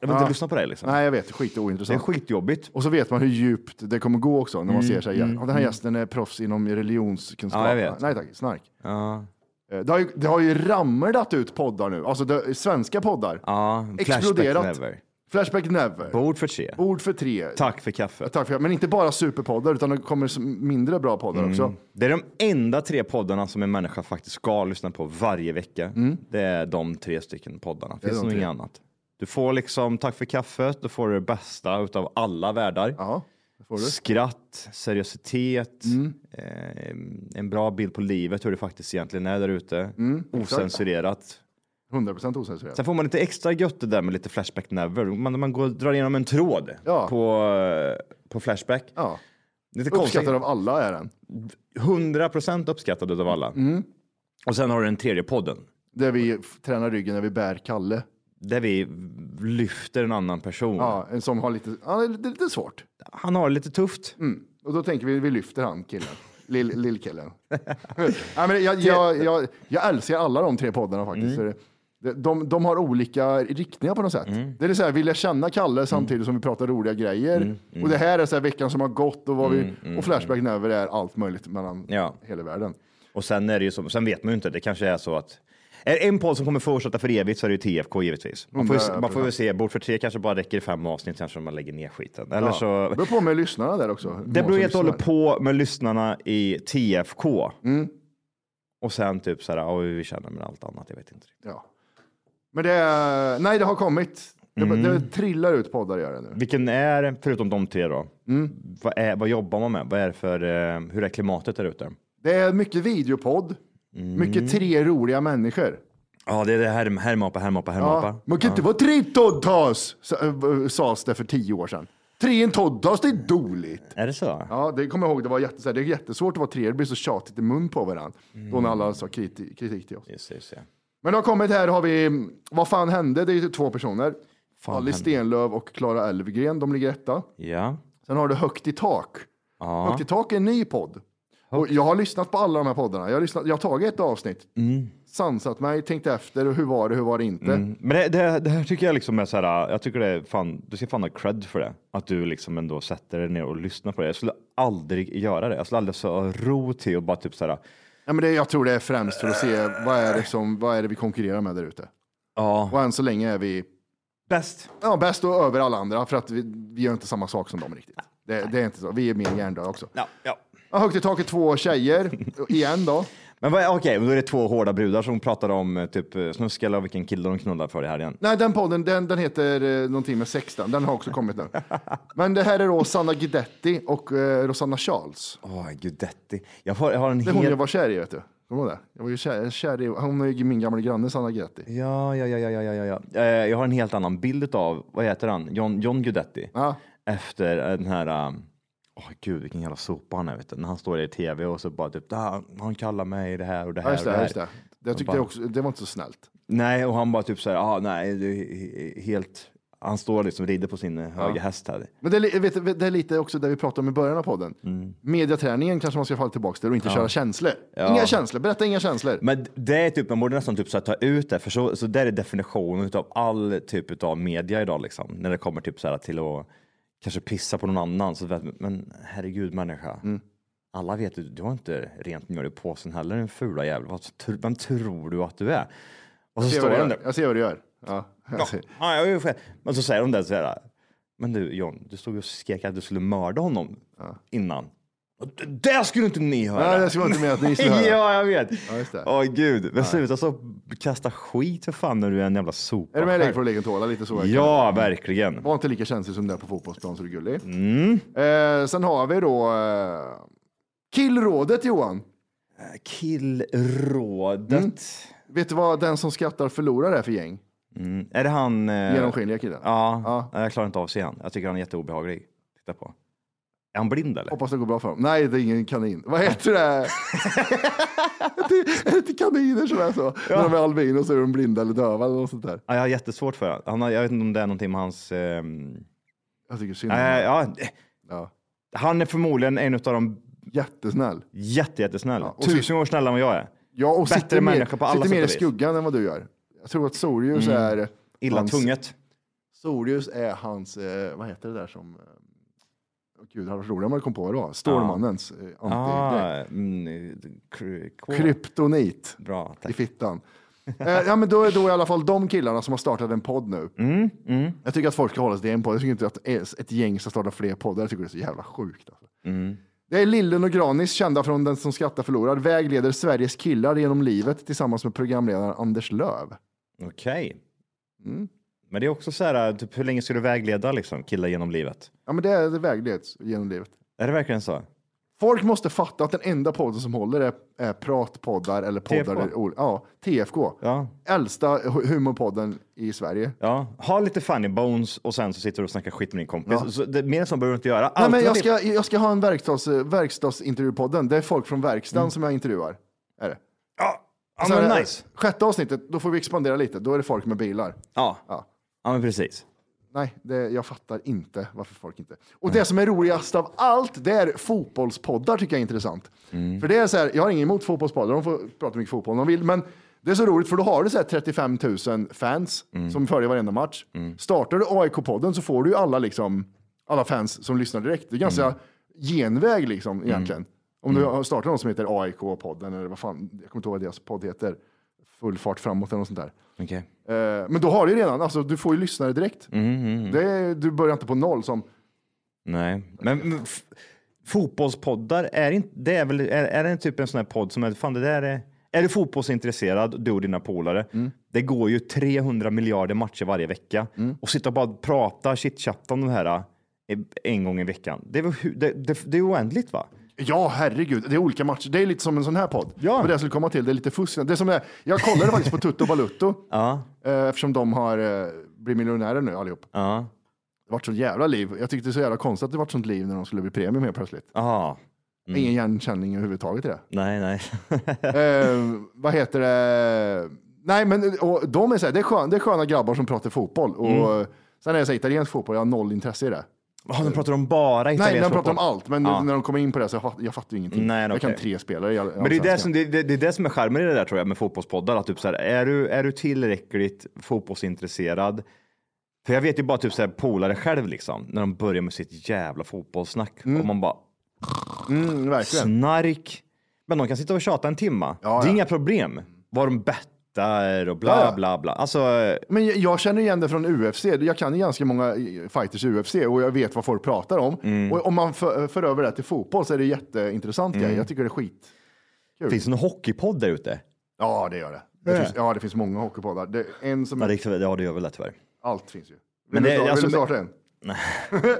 vill inte
Ja.
lyssna på det liksom.
Nej, jag vet. Skit
Det är
ointressant.
skitjobbigt.
Och så vet man hur djupt det kommer gå också när man
Mm,
ser sig.
mm,
ja, den här
mm.
gästen är proffs inom religionskunskap.
Ja, jag vet.
Nej tack, snark.
Ja.
Eh, Det har, ju, det har ju ramlat ut poddar nu, alltså det, svenska poddar.
Ja,
Exploderat.
Flashback never.
Flashback never.
Bord för tre.
Bord för tre.
Tack för kaffet.
Tack för Men inte bara superpoddar, utan det kommer som mindre bra poddar också.
Mm. Det är de enda tre poddarna som en människa faktiskt ska lyssna på varje vecka. Det är de tre stycken poddarna.
Mm. Det är
Finns
de
nog
tre.
inget annat. Du får liksom tack för kaffet, du får det bästa utav alla världar.
får du. Mm.
Skratt, seriositet, eh, en bra bild på livet, hur det faktiskt egentligen är där ute.
Mm, exakt.
Osensurerat.
100% osensurerat.
Sen får man lite extra gött det där med lite Flashback Never. Man, man går, drar igenom en tråd på, eh, på Flashback.
Ja.
Lite konstigt.
Uppskattad av alla är den.
100% uppskattad utav alla.
Mm.
Och sen har du den tredje podden.
Där vi f- tränar ryggen när vi bär Kalle.
Där vi lyfter en annan person.
Ja, en som har lite, ja, det är lite svårt.
Han har det lite tufft.
Mm. Och då tänker vi, vi lyfter han killen. Lill- Lillkillen. ja, men jag, jag, jag, jag älskar alla de tre poddarna faktiskt.
Mm.
De, de, de har olika riktningar på något sätt. Det är så här, vill jag känna Kalle samtidigt som vi pratar roliga grejer.
mm.
Och det här är så här veckan som har gått och, vad
Mm,
vi,
mm,
och Flashback Never är allt möjligt mellan
Ja.
hela världen.
Och sen är det ju som, sen vet man ju inte, det kanske är så att är det en podd som kommer fortsätta för evigt så är det ju TFK givetvis. Man får, ju,
Hundra
man får ju
procent.
se, Bord för tre kanske bara räcker i fem avsnitt kanske om man lägger ner skiten. Eller
Ja.
så,
Det beror på med lyssnarna där också. hur
det
många
beror
som
helt och hållet
lyssnar.
på med lyssnarna i TFK.
Mm.
Och sen typ så här, ja, vi känner med allt annat, jag vet inte.
Ja. Men det är, nej det har kommit. Det,
Mm.
det trillar ut poddar gör det nu.
Vilken är, förutom de tre då,
Mm.
vad, är, vad jobbar man med? Vad är det för, eh, hur är klimatet där ute?
Det är mycket videopodd,
Mm.
mycket tre roliga människor.
Ja, det är det här med härmapa, härmapa, härmapa.
Man kan inte vara tre toddas, sa- eh, sades det för tio år sedan. Tre en toddas, det är dåligt.
Är det så?
Ja, det kommer jag ihåg. Det var jätte, så här, det är jättesvårt att vara tre, det blir så tjatigt i mun på varandra. Då när alla sa kriti- kritik till oss.
Just, just, ja.
Men det har kommit här har vi, vad fan hände? Det är ju två personer.
Fan
Alice
hände.
Stenlöf och Klara Elfgren, de ligger etta.
Ja.
Sen har du Högt i tak.
Ja.
Högt i tak är en ny podd. Och jag har lyssnat på alla de här poddarna. Jag har, lyssnat, jag har tagit ett avsnitt,
Mm.
sansat mig, tänkt efter, och hur var det, hur var det inte?
Mm. Men det, det, det här tycker jag liksom är så här, jag tycker det är fan, du ska fan ha cred för det. Att du liksom ändå sätter dig ner och lyssnar på det. Jag skulle aldrig göra det. Jag skulle aldrig ha ro till och bara typ så här,
Ja, men det, jag tror det är främst för att se vad är det, som, vad är det vi konkurrerar med där ute.
Ja.
Och än så länge är vi
bäst.
Ja, bäst och över alla andra för att vi, vi gör inte samma sak som dem riktigt. Det, det är inte så. Vi är mer hjärndöda också.
Ja, ja.
högt i taket två tjejer igen då.
Men vad- okej, men då är det två hårda brudar som pratar om eh, typ eh, snusk eller vilken kille de knullar för i helgen.
Nej, den podden den, den heter eh, någonting med 16. Den har också kommit nu. Men det här är då Sanna Guidetti och eh, Rosanna Charles.
Åh, Guidetti. Jag har, jag har en
Det är hon
hel-
jag var kär i, vet du. Kommer du ihåg det? Jag var ju kär, kär i, hon är ju min gamla granne Sanna Guidetti.
Ja, ja, ja, ja, ja, ja, ja. Eh, Jag har en helt annan bild av, vad heter han, John, John Guidetti. Efter eh, den här, eh, åh gud vilken jävla sopa han är vet du. När han står där i tv och så bara typ, "Ah, han kallar mig det här och det här.
Ja, just
och
det,
här.
just det. Jag tyckte
bara,
också, det var inte så snällt.
Nej, och han bara typ så här, ah, nej, det är he- helt, han står liksom och rider på sin eh, höga häst här.
Men det är, li- vet, du, det är lite också det vi pratade om i början av podden. Mediaträningen kanske man ska falla tillbaka till och inte
Mm. Ja.
köra känslor.
Ja.
Inga känslor, berätta inga känslor.
Men det är typ, man borde nästan typ så här ta ut det, för så, så där är definitionen av all typ av media idag liksom. När det kommer typ så här till att kanske pissa på någon annan. Så vet, men herregud människa,
Mm.
alla vet ju, du har inte rent mjöl i påsen heller din fula jävel. Vad tr- Vem tror du att du är? Och så
jag, ser
står
vad du
han
gör.
där.
jag ser vad du gör. Ja. Jag
Ja,
ser.
ja, jag är ju själv. Men så säger de där så här. Men du John, du stod ju och skrek att du skulle mörda honom innan. Och d- Det skulle inte ni höra.
Nej, det skulle inte med att ni skulle höra.
ja, jag vet.
Ja, just det.
Åh gud, men sluta så kasta skit för fan när du är en jävla sopa.
Är du med i Lägg för att lägga tåla? Lite så. verkar det.
Ja, verkligen.
Var inte lika känslig som du är på fotbollsplan så du är gullig.
Mm.
Eh, sen har vi då eh, killrådet Johan.
Killrådet.
Vet du vad den som skrattar förlorar är för gäng?
Mm. Är det han? Eh...
Genomskinliga killen.
Ja, Nej, jag klarar inte av att se han. Jag tycker han är jätteobehaglig. Titta på. Är han blind eller?
Hoppas det går bra för dem. Nej, det är ingen kanin. Vad heter det? det är det inte kaniner som är så? När de är albino så är de blinda eller döva eller något sånt där.
Ja, jag har jättesvårt för han. han. har- Jag vet inte om det är någonting med hans... ehm,
Jag tycker synd om
Nej,
honom.
ja.
Mm. Ja.
Han är förmodligen en av de
Jättesnäll.
jätte, jättesnäll.
Ja, och
Tusen gånger snällare än vad jag är.
Ja, och
Bättre
sitter
människa
mer,
på alla
sitter mer i
sätt och vis.
skuggan än vad du gör. Jag tror att Sorius
Mm.
är...
Illa
hans-
tvunget.
Sorius är hans, eh, vad heter det där som... eh, Gud, det hade varit roligt om jag kom på vad det var. Stålmannens eh, anti...
Ah, mm, kry- kå-
Kryptonit
Bra,
i
tack.
fittan. eh, ja, men då är då i alla fall de killarna som har startat en podd nu.
Mm,
Jag tycker att folk ska hålla sig till en podd. Jag tycker inte att es- ett gäng ska starta fler poddar. Jag tycker det är så jävla sjukt. Alltså.
Mm.
Det är Lillen och Granis, kända från Den som skrattar förlorar, vägleder Sveriges killar genom livet tillsammans med programledaren Anders Löv.
Okej.
Mm.
Men det är också så här, typ, hur länge ska du vägleda liksom, killar genom livet?
Ja, men det är det vägleds genom livet.
Är det verkligen så?
Folk måste fatta att den enda podden som håller är, är pratpoddar eller poddar.
TFK.
där ol- Ja, TFK.
Ja.
Äldsta hu- humorpodden i Sverige.
Ja, ha lite funny bones och sen så sitter du och snackar skit med din kompis.
Ja.
Så det, mer så behöver du inte göra.
Nej, men jag,
Alternativ-
ska, jag ska ha en verkstads, verkstadsintervjupodden. Det är folk från verkstaden som jag intervjuar. Är det.
Mm. Ja,
Sen
men
är det-
nice.
Sjätte avsnittet, då får vi expandera lite. Då är det folk med bilar.
Ja.
Ja.
ja, men precis.
Nej, det, jag fattar inte varför folk inte... Och det som är roligast av allt, det är fotbollspoddar tycker jag är intressant. För det är så här, jag har inget emot fotbollspoddar, de får prata mycket fotboll om de vill, men det är så roligt för då har du så här 35 000 fans som följer varenda match. Startar du AIK-podden så får du ju alla, liksom, alla fans som lyssnar direkt. Det är ganska genväg liksom egentligen. Om du har- startar någon som heter AIK-podden eller vad fan, jag kommer inte ihåg vad deras podd heter. Full fart framåt eller något sånt där.
Okej.
Eh, Men då har du ju redan, alltså du får ju lyssnare direkt.
Mm,
Det är, du börjar inte på noll som,
Nej, men men f- fotbollspoddar, är, inte, det är, väl, är, är det en typ en sån här podd som är, fan det där är, är du fotbollsintresserad, du och dina polare,
Mm.
det går ju 300 miljarder matcher varje vecka
Mm.
och sitta och bara prata, chitchatta om de här eh, en gång i veckan. Det är, väl hu- det, det, det är oändligt va?
ja herregud, det är olika matcher. Det är lite som en sån här podd.
Ja.
Men det jag skulle komma till, det är lite fusk. Det är som det är, jag kollade faktiskt på Tutto Balutto,
Ja,
eh, eftersom de har eh, blivit miljonärer nu allihop.
ja,
Det vart sånt jävla liv. Jag tyckte det var så jävla konstigt att det vart sånt liv när de skulle bli premium helt plötsligt.
ja. Mm.
Ingen hjärnkänning överhuvudtaget i det.
Nej, nej.
eh, vad heter det? Nej, men och de är så här, det, är skön, det är sköna grabbar som pratar fotboll. Och
Mm.
Sen är det så här, italiensk fotboll, jag har noll intresse i det.
Ja, de pratar om bara italiensk
Nej, de pratar om
fotboll.
allt, men
Ja.
när de kommer in på det så jag, fatt- jag fattar ju ingenting.
Nej,
jag kan
okej.
tre spelare. Jag,
Men det är det, som, det, det, det är det som är charmen i det där tror jag med fotbollspoddar. Att typ så här, är, du, är du tillräckligt fotbollsintresserad? För jag vet ju bara typ så här, polare själv liksom, när de börjar med sitt jävla fotbollssnack.
Mm.
Och man bara, Mm. snark. Men de kan sitta och tjata en timma. det är inga problem. Vad de bettar och bla
Ja, ja.
bla bla. Alltså,
Men jag, jag känner igen det från UFC. Jag kan ju ganska många eh, fighters i UFC och jag vet vad folk pratar om.
Mm.
Och om man för, för över det till fotboll så är det jätteintressant
Mm.
grej. Jag tycker det är skit.
finns det någon hockeypodd där ute?
Ja, det gör det. det
Ja.
finns, ja, det finns många hockeypoddar. Det, en som
Ja, det, ja, det gör väl det tyvärr.
Allt finns ju. Vill,
Men det-
du, starta,
alltså-
vill du starta en?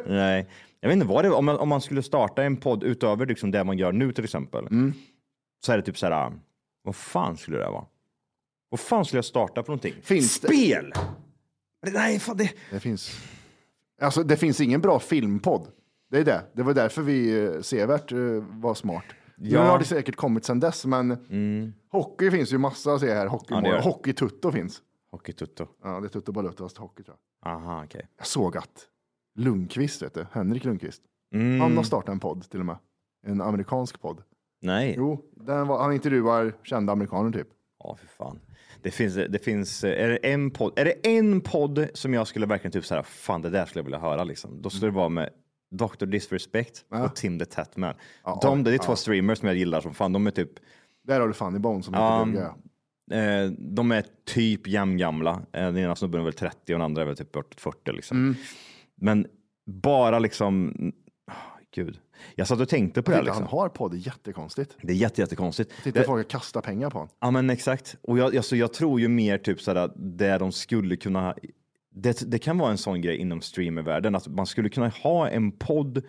Nej, jag vet inte vad det om man, om man skulle starta en podd utöver liksom det man gör nu till exempel. Så är det typ så här, vad fan skulle det vara? Vad fan skulle jag starta för någonting?
Finns det-
Spel! Nej, fan det...
Det finns, alltså, det finns ingen bra filmpodd. Det är det. Det var därför vi eh, sevärt eh, var smart. Nu
Ja. Mm.
har det säkert kommit sedan dess, men hockey finns ju massa att se här. Hockey,
Ja, det gör det.
Hockeytutto finns.
Hockeytutto.
Ja, det är Tutto Balutto, fast hockey tror jag.
Aha, okej.
Jag såg att Lundqvist, vet du, Henrik Lundqvist,
Mm.
han har startat en podd till och med. En amerikansk podd.
Nej.
Jo, den var, han intervjuar kända amerikaner typ.
Ja, för fan. Det finns, det finns, är det en podd, är det en podd som jag skulle verkligen typ så här, fan det där skulle jag vilja höra liksom. Då skulle det vara med Dr. Disrespect och Tim the Tatman. de, det är två streamers som jag gillar som fan, de är typ
Där har du Funny Bone som heter
Ja,
Lugge. ja.
eh, de är typ jämngamla. Eh, Den ena snubben är väl 30 och den andra är väl typ bortåt 40. Liksom.
Mm.
Men bara liksom, ah, gud. Jag satt och tänkte på det.
Jag
här,
tycker
Liksom.
Han har podd, det är jättekonstigt.
Det är jätte, jättekonstigt.
Titta,
Det-
folk kastar pengar på honom.
Ja men exakt. Och jag, alltså, jag tror ju mer typ sådär, det de skulle kunna, det, det kan vara en sån grej inom streamervärlden, att man skulle kunna ha en podd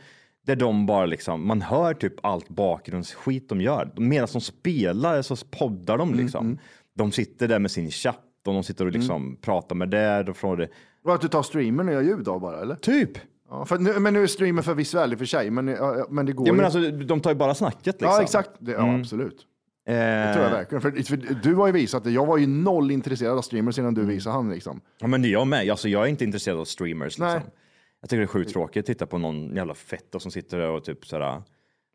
där de bara liksom, man hör typ allt bakgrundsskit de gör. Medan de spelar så poddar de
Mm,
liksom. De sitter där med sin chatt och de sitter och liksom pratar med det. Och från det.
Och att du tar streamern och gör ljud av bara, eller?
Typ!
Ja, för nu, men nu är streamen för visuell i och för sig, men, ja, ja, men det går
Ja
ju.
men alltså de tar ju bara snacket liksom. Eh,
Ja, exakt. Det, ja, absolut. Det tror jag verkligen. För, för du har ju visat det. Jag var ju noll intresserad av streamers innan
Mm.
du visade han. Liksom.
Ja men det är jag med. Alltså, jag är inte intresserad av streamers.
Nej.
Liksom. Jag tycker det är sjukt tråkigt att titta på någon jävla fetto som sitter där och typ sådär.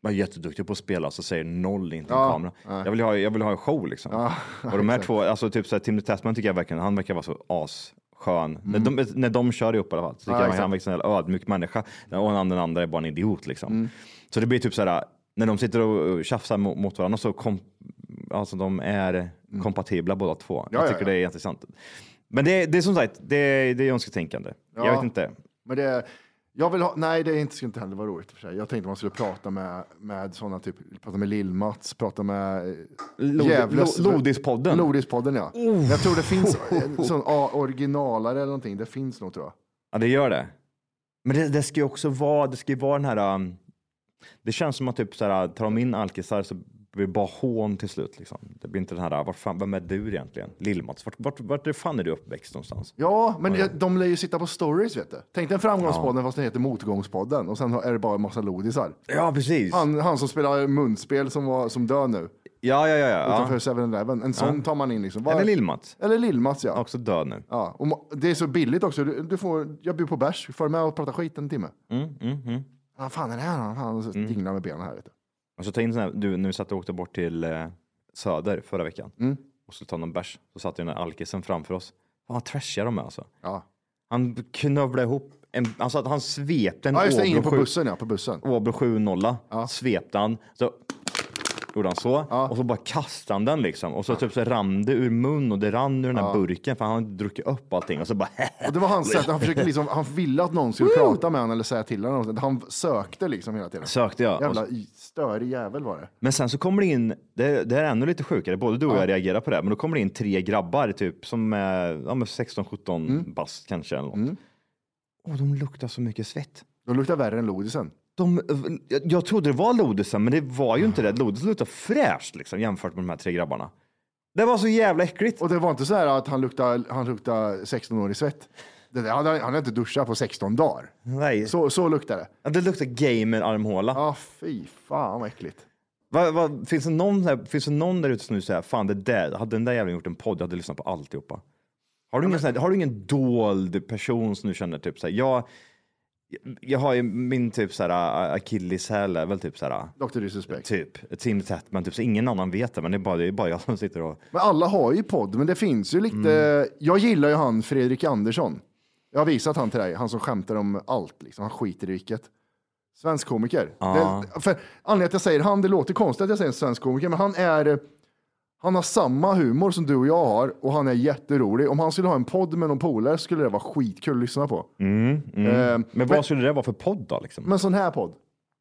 Man är jätteduktig på att spela så säger noll in till
Ja,
en kamera.
nej.
Jag vill, ha, jag vill ha en show liksom. och de här två, alltså typ såhär, Tim Testman tycker jag verkligen, han verkar vara så asskön. När, de, när de kör ihop i alla fall, så tycker
Mm. Ja,
jag
exakt.
han verkar som en jävla ödmjuk människa. Och den andra, den andra är bara en idiot liksom.
Mm.
Så det blir typ såhär, när de sitter och tjafsar mot, mot varandra så kom, alltså de är kompatibla båda två.
Mm. Ja,
jag
ja,
tycker
ja.
det är intressant. Men det, det är som sagt, det, det är önsketänkande.
Ja.
Jag vet inte.
Men det, jag vill ha, nej, det är inte, skulle inte heller vara roligt. i och För sig. Jag tänkte man skulle prata med, med sådana, typ, prata med Lill-Mats, prata med eh,
Lodi-
Gävles-
Lo- Lodispodden. Oh.
Lodispodden, ja. Jag tror det finns en sån ah, originalare eller någonting. Det finns nog, tror jag.
Ja, det gör det. Men det, det ska ju också vara, det ska ju vara den här... um, det känns som att typ så här, tar de in alkisar så blir det bara hån till slut. Liksom. Det blir inte den här, vart fan, vem är du egentligen? Lill-Mats, vart, vart, vart fan är du uppväxt någonstans?
Ja, men de lär ju sitta på stories, vet du. Tänk dig en framgångspodden fast den heter Motgångspodden och sen har- är det bara en massa lodisar.
Ja, precis.
Han, han som spelar munspel som, var, som dör nu
Ja, ja, ja. ja.
utanför 7-Eleven. En sån
Ja.
tar man in liksom. Bara-
Eller Lill-Mats,
Eller Lill-Mats, ja.
också död nu.
ja. Och ma- det är så billigt också. Du, du får, jag bjuder på bärs, följ med och prata skit en timme.
Mm, mm, mm.
Vad fan är det här? Han så dinglar med benen här. Vet du.
Och så Alltså, ta in sån här, du, när vi satt och åkte bort till eh, Söder förra veckan
Mm.
och skulle ta någon bärs, så satt ju den här alkisen framför oss. Fan vad trashiga de är alltså.
Ja.
Han knövlade ihop, en, alltså att han svepte en
ja, just det. In på
Åbro sju-
bussen, ja. På bussen.
Åbro 7-0, svepte han, så gjorde han så och så bara kastade han den liksom och så typ så rann det ur mun och det rann ur den här burken för han hade druckit upp allting och så bara
Och det var hans sätt. Han, försökte liksom, han ville att någon skulle prata med honom eller säga till honom. Han sökte liksom hela tiden.
sökte jag. Och
Jävla
så,
störig jävel var det.
men sen så kommer det in, det, det här är ännu lite sjukare, både du och jag reagerar på det, här, men då kommer det in tre grabbar typ som är ja, 16-17 bast kanske eller något. Och de luktar så mycket svett.
De luktar värre än lodisen.
De, jag, jag trodde det var Lodisen, men det var ju inte det. Lodisen luktar fräscht liksom, jämfört med de här tre grabbarna. Det var så jävla äckligt.
Och det var inte så här att han luktade, han luktade 16 år i svett. Det där, han, hade- han hade inte duschat på 16 dagar.
Nej.
Så, så luktade det.
Ja, Det luktar gamer-armhåla.
Ja, fy fan vad äckligt.
Va, va, finns, det någon där, finns det någon där ute som nu säger, fan det där, hade den där jäveln gjort en podd, jag hade lyssnat på alltihopa. Har du, ingen, sån här, har du ingen dold person som du känner typ så här, jag, jag har ju min typ så här akilleshäl är väl typ så här.
Dr. Disrespect.
Typ, Tim Tätman, typ så ingen annan vet det, men det är bara, det är bara jag som sitter och.
Men alla har ju podd, men det finns ju lite.
Mm.
Jag gillar ju han Fredrik Andersson. Jag har visat han till dig, han som skämtar om allt, liksom. han skiter i vilket. Svensk komiker.
Ja.
Det, för, anledningen till att jag säger han, det låter konstigt att jag säger en svensk komiker, men han är han har samma humor som du och jag har och han är jätterolig. Om han skulle ha en podd med någon polare skulle det vara skitkul att lyssna på.
Mm, mm.
Eh,
men vad skulle det vara för podd då liksom?
Men sån här podd.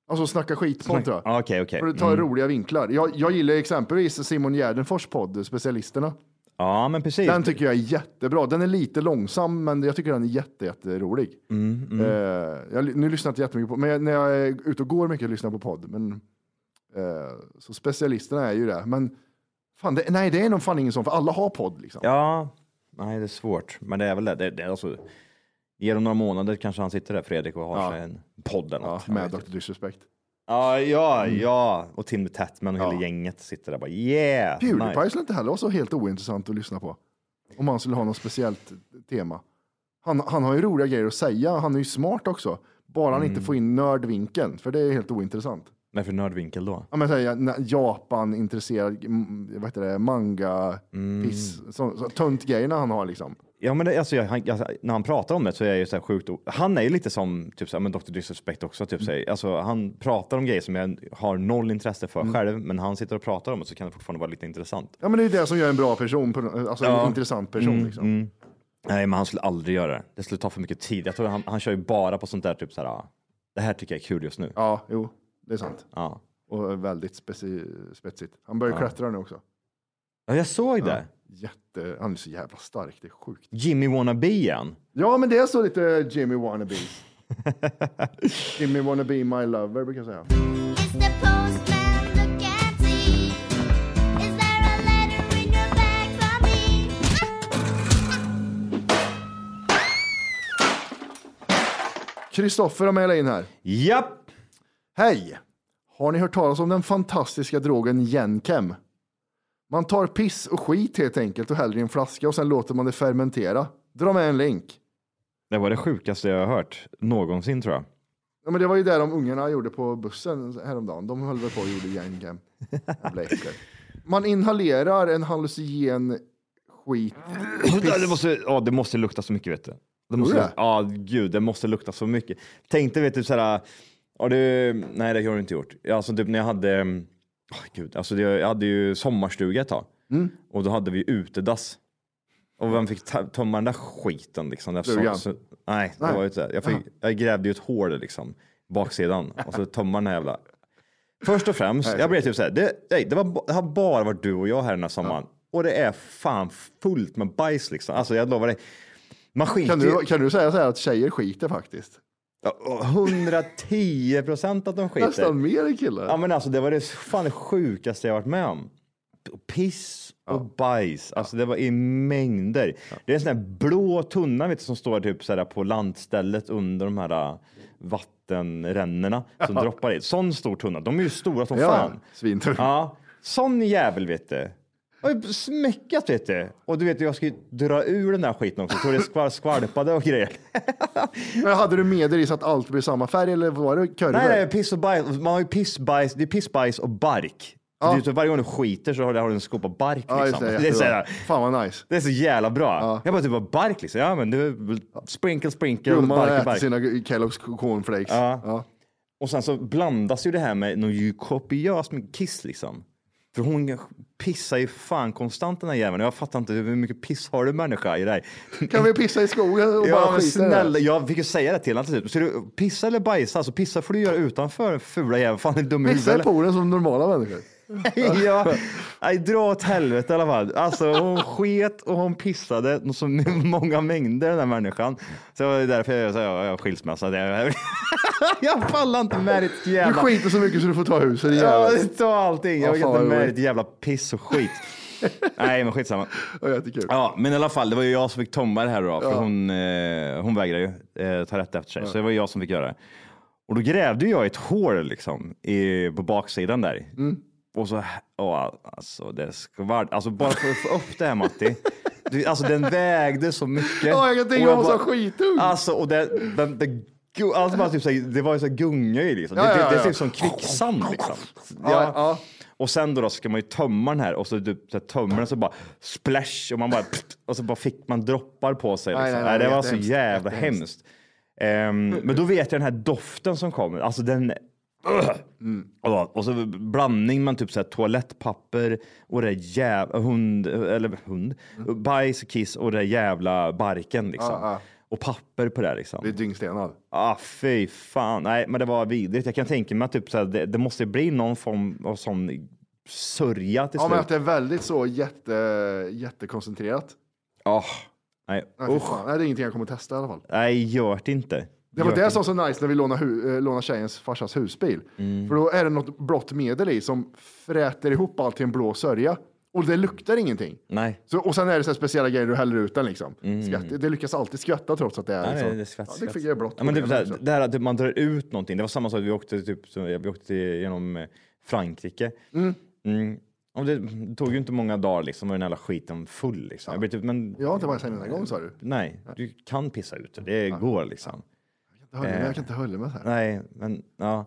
Alltså snacka skit-podd tror jag.
Ah, Okej, okej.
För att ta
Mm.
roliga vinklar. Jag, jag gillar exempelvis Simon Gärdenfors podd, Specialisterna.
Ja, men precis.
Den tycker jag är jättebra. Den är lite långsam, men jag tycker den är jätte, jätterolig.
Mm, mm.
Eh, jag, nu lyssnar jag inte jättemycket på, men jag, när jag är ute och går mycket och lyssnar på podd. Men, eh, så specialisterna är ju det. Men fan, det, nej, det är nog fan ingen sån, för alla har podd liksom.
Ja, nej det är svårt. Men det är väl det. det, det är alltså, ge dem några månader kanske han sitter där Fredrik och har
Ja.
sig en podd eller något.
med Dr. Disrespect.
Ja, ja, ja. Och Tim Tätman och hela gänget sitter där bara yeah.
Pewdiepie
nice.
skulle inte heller vara så helt ointressant att lyssna på. Om han skulle ha något speciellt tema. Han, han har ju roliga grejer att säga, han är ju smart också. Bara han
Mm.
inte får in nördvinkeln, för det är helt ointressant.
Vad är för nördvinkel då?
Ja, men säga na- Japan-intresserad, mm, vad heter det, manga,
Mm.
piss, så, så, tönt grejerna han har liksom.
Ja, men det, alltså, jag, han, jag, när han pratar om det så är jag ju så här sjukt... o- Han är ju lite som typ, så här, men Dr. Disrespect också. Typ, så här, alltså, han pratar om grejer som jag har noll intresse för själv, men han sitter och pratar om det så kan det fortfarande vara lite intressant.
Ja, men det är det som gör en bra person, på- alltså
Ja.
en intressant person
Mm,
liksom.
mm. Nej, men han skulle aldrig göra det. Det skulle ta för mycket tid. Jag tror han, han kör ju bara på sånt där typ så här, ah, det här tycker jag är kul just nu.
Ja, jo, det är sant.
Ja,
Och väldigt speci- spetsigt. Han börjar
Ja.
klättra nu också.
ja jag såg det.
Jätte, han är så jävla stark, det är sjukt.
Jimmy Wannabe igen.
Ja, men det är så lite Jimmy wannabe. Jimmy wannabe my lover brukar jag säga. Kristoffer har mejlat in här.
Japp!
Hej! Har ni hört talas om den fantastiska drogen Jenkem? Man tar piss och skit helt enkelt och häller i en flaska och sen låter man det fermentera. Dra med en länk.
Det var det sjukaste jag har hört någonsin tror jag.
Ja, men det var ju det de ungarna gjorde på bussen häromdagen. De höll väl på och gjorde Jenkem. Jävla äckel. Man inhalerar en hallucinogen skit.
Ja, det, måste, ja, det måste lukta så mycket vet du. Det måste,
det?
Ja, gud, det måste lukta så mycket. Tänkte vet du så här, ja, det, nej det har du inte gjort. Alltså typ när jag hade, mm, åh, gud, alltså det, jag hade ju sommarstuga ett tag
Mm.
och då hade vi utedass. Och vem fick ta- tömma den där skiten liksom? Det var
Flugan.
så, så, nej, det
Nej.
var ju inte det. Jag, fick, jag grävde ju ett hål liksom, baksidan och så tömma den här jävla. Först och främst, jag blev typ såhär, det, nej, det, var, ba- det har bara varit du och jag här den här sommaren. Och det är fan fullt med bajs liksom. Alltså jag lovar dig. Man skiter
Kan du,
ju-
kan du säga så här att tjejer skiter faktiskt?
Ja, och 110 procent att de skiter.
Nästan mer än killar.
Ja men alltså det var det fan det sjukaste jag varit med om. Och Piss och bajs, alltså det var i mängder. Det är en sån här blå tunna vet du, som står typ så här på landstället under de här äh, vattenrännorna som
Ja.
droppar in. Sån stor tunna, de är ju stora som
Ja,
fan.
svintunna.
Ja, sån jävel vet du. Och Smäckat vet du. Och du vet, jag ska ju dra ur den där skiten också. Så det skvar, skvalpade och grejer.
Men hade du med dig i så att allt blir samma färg eller var det kurvor?
Nej, nej, piss och bajs. Man har ju piss, bajs, det är piss, bajs och bark.
Ja.
Det är, ju så varje gång du skiter så har du, har du en skopa bark.
Ja, just
Liksom.
det,
det, är
jättebra.
så här,
Fan vad nice.
det är så jävla bra. Jag bara typ bara bark liksom. Ja, men du, sprinkle, sprinkle,
Gumman har
bark,
ätit
bark.
sina Kellogg's cornflakes.
Ja.
Ja.
Och sen så blandas ju det här med någon ju kopiös med kiss liksom. För hon pissar ju fan konstant den här jäveln. Jag fattar inte hur mycket piss har du människa i dig?
Kan vi pissa i skogen och
Ja,
bara
men
skita i det?
snälla, jag fick ju säga det till honom till slut. Ska du pissa eller bajsa? Alltså pissa får du göra utanför fula jävel. Fan, är du dum i huvudet?
Pissa i
eller?
poolen som normala människor.
ja, nej, dra åt helvete i alla fall. Alltså hon sket och hon pissade något så många mängder den här människan. Så det var därför jag sa jag har skilsmässa. Det- Jag pallar inte med ditt
Du
jävla...
skiter så mycket så du får ta huset i
Ja,
jäveln.
ta allting. Jag
Ja,
vill
fan,
inte
vad
med
roligt.
ditt jävla piss och skit. Nej, men skitsamma.
Ja, jättekul.
Ja, men i alla fall, det var ju jag som fick tomma det här då, för
Ja.
hon, eh, hon vägrade ju eh, ta rätt efter sig, så det var
Mm.
jag som fick göra det. Och då grävde jag ett hål liksom i, på baksidan där. Och så, åh, alltså det skvallrade. Alltså bara för att få upp det här Matti. Du, alltså den vägde så mycket.
Ja, jag kan tänka
Och
mig att hon
bara-
var skitung.
Alltså, och det, den, det, gu- alltså bara typ så här, det var ju så här gunga i liksom.
Ja,
det,
ja, ja,
det, det
ja.
ser ut som kvicksand liksom. Ja.
Ja,
Och sen då, då ska man ju tömma den här och så, typ, så här, tömmer den så bara splash och man bara pst, och så bara fick man droppar på sig.
Nej,
Liksom.
nej,
Nej,
nej,
det var så
jättehemskt,
jävla
jättehemskt.
hemskt. Ehm, men då vet jag den här doften som kommer, alltså den och, då, och så blandning med typ så här toalettpapper och det jävla hund, eller hund, bajs, kiss och det jävla barken liksom.
Mm. Ja, ja.
Och papper på det här, liksom.
Det är dyngstenad.
Ah, fy fan. Nej, men det var vidrigt. Jag kan tänka mig att typ så här, det, det måste bli någon form av sån sörja till
Ja, men
slut.
att det är väldigt så jätte, jättekoncentrerat.
Ja, Ah, nej,
Nej, fy
usch.
fan. Nej, det är ingenting jag kommer testa i alla fall.
nej, gör det inte.
Det var
Gör
det som var så nice när vi lånade, hu- eh, lånade tjejens farsas husbil.
Mm.
För då är det något blått medel i som fräter ihop allt till en blå sörja. Och det luktar ingenting.
Nej.
Så, och sen är det så här speciella grejer du häller ut den liksom. Skvätt, det lyckas alltid skvätta trots att det är
Nej,
liksom.
Mm. det är skvätt,
ja, det
skvätt.
fick jag
Alltså.
blått.
Ja, men typ
på
så
den,
här,
liksom.
det här att typ man drar ut någonting. Det var samma sak, vi åkte, typ, så, vi åkte genom eh, Frankrike. Mm. Och det, det tog ju inte många dagar liksom, var den jävla skiten full. Liksom. Jag blev typ, men
Jag har inte varit sen den här gången sa du.
nej, du kan pissa ut det. Det går liksom.
Jag, höll, men
Eh.
jag kan inte hölla mig så här.
Nej, men ja.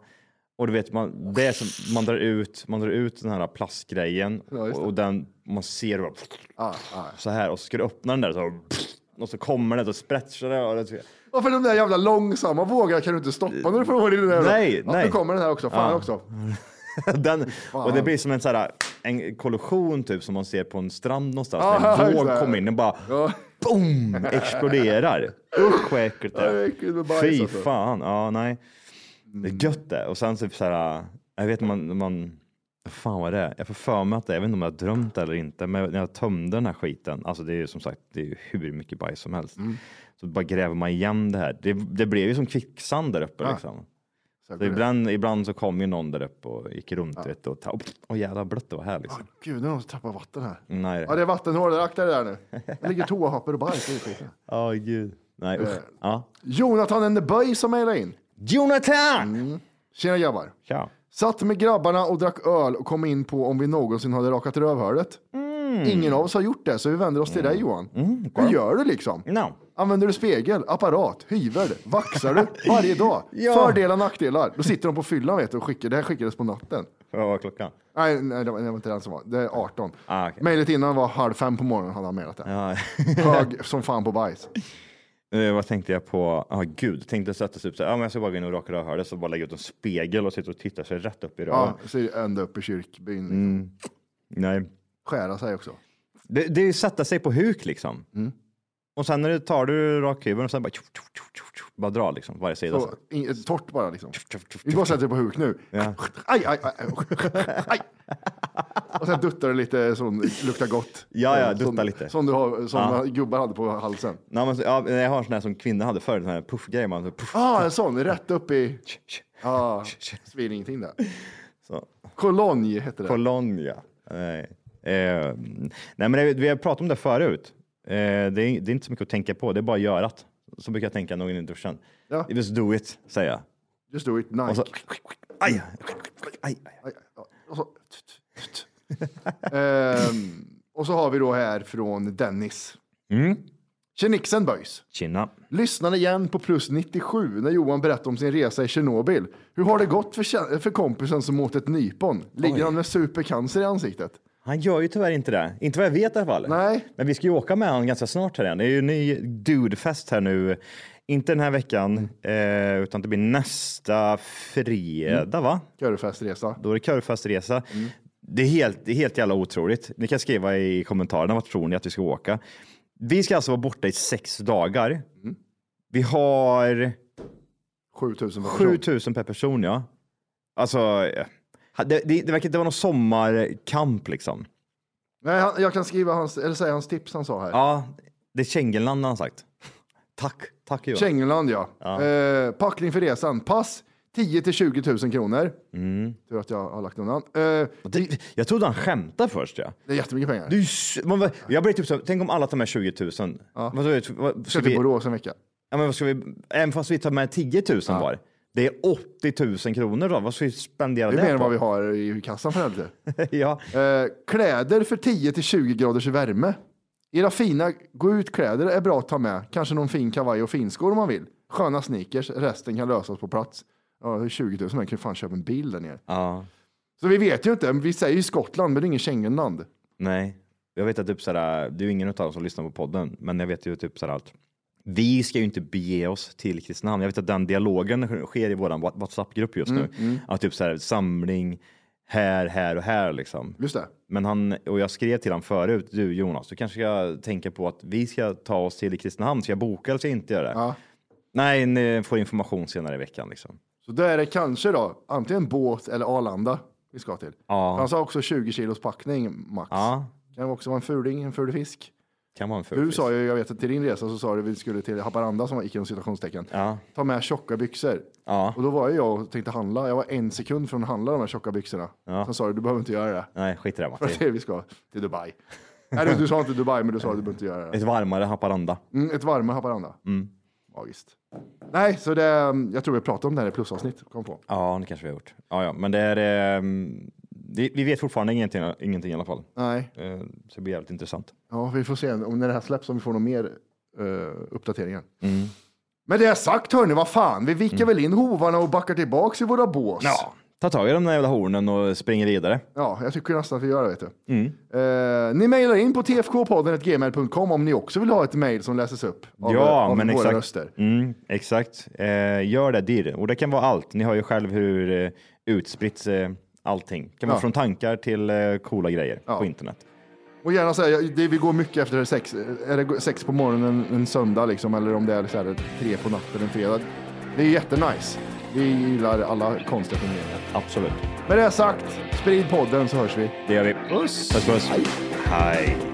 Och du vet, man, det är som, man, drar ut, man drar ut den här plastgrejen
Ja, just
och,
det.
och den, man ser bara,
Ah, ah.
så här och så ska du öppna den där så, och så kommer den och sprätschar det. Och det
Varför de där jävla långsamma vågorna kan du inte stoppa när du får i den där?
Nej,
ja, Nu
nej.
kommer den här också. Fan
Ja.
också.
den, och det blir som en, så här, en kollision typ som man ser på en strand någonstans. när
Ah,
en
just
våg
det.
kommer in och bara
Ja.
boom, exploderar. Usch vad äckligt det
Ja, det är
är.
äckligt med bajs,
Fy
alltså. Mm.
fan, ja nej. Det är gött det. Och sen typ så här, jag vet man, man fan vad det är. Jag får för mig att det, jag vet inte om jag har drömt det eller inte, men när jag tömde den här skiten, alltså det är ju som sagt, det är ju hur mycket bajs som helst.
Mm.
Så bara gräver man igen det här. Det, det blev ju som kvicksand där uppe
Ja.
liksom.
Så
Så ibland, ibland så kom ju någon där uppe och gick runt vet, du, och ta, och jävla blött det var här liksom.
Gud, nu har någon som tappat vatten här.
Nej.
Ja, det är vattenhål. där. Akta dig där nu. Det ligger toapapper och bajs. i skiten.
Åh gud. Nej usch.
Eh.
Ja.
Jonathan and the Boy som mejlade in.
Jonathan!
Mm. Tjena grabbar.
Tja.
Satt med grabbarna och drack öl och kom in på om vi någonsin hade rakat rövhålet.
Mm.
Ingen av oss har gjort det, så vi vänder oss till dig Johan. Hur gör du liksom?
No.
Använder du spegel, apparat, hyvel, vaxar du varje dag?
Ja.
Fördelar, nackdelar. Då sitter de på fyllan vet du och skickar. Det här skickades på natten.
Vad var klockan?
Nej, nej det var det var inte den som var. Det är 18.
Ah, okej.
Mejlet innan var halv fem på morgonen hade han mejlat det.
Ja.
Hög som fan på bajs.
Eh, vad tänkte jag på? Ja, ah, gud. Tänkte sätta sig upp så här, ja, men jag ska bara gå in och raka rövhålet, så bara lägga ut en spegel och sitta och titta sig rätt upp i röven.
Ja, så är det ända upp i kyrkbyn. Liksom.
Mm. Nej.
Skära sig också.
Det, det är ju sätta sig på huk liksom.
Mm.
Och sen när du tar du rakhyveln och sen bara, bara dra liksom varje sida.
Så, in, torrt bara liksom.
tjuff,
Vi bara sätter på huk nu.
Ja.
Aj, aj, aj, aj. aj. Och sen duttar det lite så det luktar gott.
Ja, ja,
Sån-
dutta lite.
Som, du har, som
Ja.
gubbar hade på halsen.
Nej, men, så- ja, jag har en sån här som kvinnor hade förr, sån här puffgrej. Man, så, puff,
Ja, ah, en sån. Rätt upp i... Ja, svin ingenting där.
så.
Kolonj heter det.
Colonia. Nej. Eh, nej, men det, vi har pratat om det förut. Eh, det, är, det är inte så mycket att tänka på, det är bara att göra det. Så brukar jag tänka någon i duschen.
Ja.
Just do it, säger jag.
Just do it, Nike.
Och så, aj, aj, aj.
Aj, aj, Och så, Ehm, och så har vi då här från Dennis.
Mm.
Tjenixen böjs.
Tjena.
Lyssnade igen på plus 97 när Johan berättade om sin resa i Tjernobyl. Hur har det gått för, kä- för kompisen som åt ett nypon? Ligger
Oj.
han med supercancer i ansiktet?
Han gör ju tyvärr inte det. Inte vad jag vet i alla fall.
Nej.
Men vi ska ju åka med honom ganska snart här igen. Det är ju ny Dude-fest här nu. Inte den här veckan, eh, utan det blir nästa fredag, va?
Körfestresa.
Då är det körfestresa. Det, är helt, det är helt jävla otroligt. Ni kan skriva i kommentarerna vad tror ni att vi ska åka. Vi ska alltså vara borta i sex dagar. Vi har
7000 per person.
7000 per person, ja. Alltså, eh, det, det, det verkar inte vara någon sommarkamp liksom.
Nej, han, jag kan skriva hans, eller säga hans tips han sa här.
Ja, det är Schengenland har han sagt. Tack, tack Johan.
Schengenland ja.
Ja.
Eh, packning för resan. Pass 10 till 20 000 kronor.
Mm.
Tur att jag har lagt undan. Eh,
Och Det, jag trodde han skämtade först. Ja.
det är jättemycket pengar.
Det är ju s- man, jag blir typ så här, tänk om alla tar med 20 000. Vad, vad,
Ska
ska
till
vi,
Borås en vecka.
ja, men vad ska vi, även fast vi tar med 10 000 var. Det Det är 80 000 kronor då. Vad ska vi spendera
Det är mer än
på?
vad vi har i kassan för helvete.
ja.
eh, kläder för 10 till 20 graders värme. Era fina gå ut-kläder är bra att ta med. Kanske någon fin kavaj och finskor om man vill. Sköna sneakers, resten kan lösas på plats. Ja, 20 000 man kan ju fan köpa en bil där nere.
Ja.
Så vi vet ju inte, vi säger ju Skottland men det är ingen Schengenland.
Nej, jag vet att typ såhär, det är ju ingen utav dem som lyssnar på podden, men jag vet ju typ såhär allt. Vi ska ju inte bege oss till Kristinehamn. Jag vet att den dialogen sker i våran What- WhatsApp-grupp just nu.
Mm, mm.
Att typ såhär samling här, här och här liksom.
Just det.
Men han, och jag skrev till honom förut, du Jonas, du kanske ska tänka på att vi ska ta oss till Kristinehamn, ska jag boka eller ska jag inte göra det? Nej, ni får information senare i veckan liksom.
Så då är det kanske då antingen båt eller Arlanda vi ska till.
Ja.
Han sa också 20 kilos packning max.
Ja.
Kan det också vara en fuling, en ful fisk.
Kan vara en ful
Du
fisk.
sa ju, jag vet att till din resa så sa du att vi skulle till Haparanda som var icke inom citationstecken. Ta med tjocka byxor. Och då var ju jag och tänkte handla. Jag var en sekund från att handla de här tjocka byxorna. Sen sa du, du behöver inte göra det.
Nej, skit i det
För att
Matti.
det är vi ska till Dubai. Nej, du sa inte Dubai, men du sa att du behöver inte göra det.
Ett varmare Haparanda.
Mm, ett varmare Haparanda.
Mm.
Magiskt. Nej, så det, jag tror vi pratade om det här i plusavsnitt. Kom på.
Ja, det kanske vi har gjort. Ja, ja. Men det är, ehm, det, vi vet fortfarande ingenting, ingenting i alla fall.
Nej.
Eh, Så det blir jävligt intressant.
Ja, vi får se om när det här släpps om vi får några mer eh, uppdateringar.
Mm.
Men det är sagt hörni, vad fan, vi vickar väl in hovarna och backar tillbaks i våra bås.
Ja. Ta tag i de där jävla hornen och springer vidare.
Ja, jag tycker nästan att vi gör det vet du.
Mm.
Eh, ni mejlar in på tfkpodden.gmail.com om ni också vill ha ett mejl som läses upp av,
ja,
av
men
våra
exakt.
röster.
Mm, exakt. Eh, gör det dirr. Och det kan vara allt. Ni hör ju själv hur eh, utspritt eh, allting. kan vara
Ja.
från tankar till eh, coola grejer
Ja.
på internet.
Och gärna säga, det, vi går mycket efter sex, är det sex på morgonen en söndag liksom, eller om det är så här, tre på natten en fredag. Det är jättenice. Vi gillar alla konstiga funderingar.
Absolut.
Med det sagt, sprid podden så hörs vi.
Det gör vi.
Puss.
Puss, puss.
Hej.
Hej.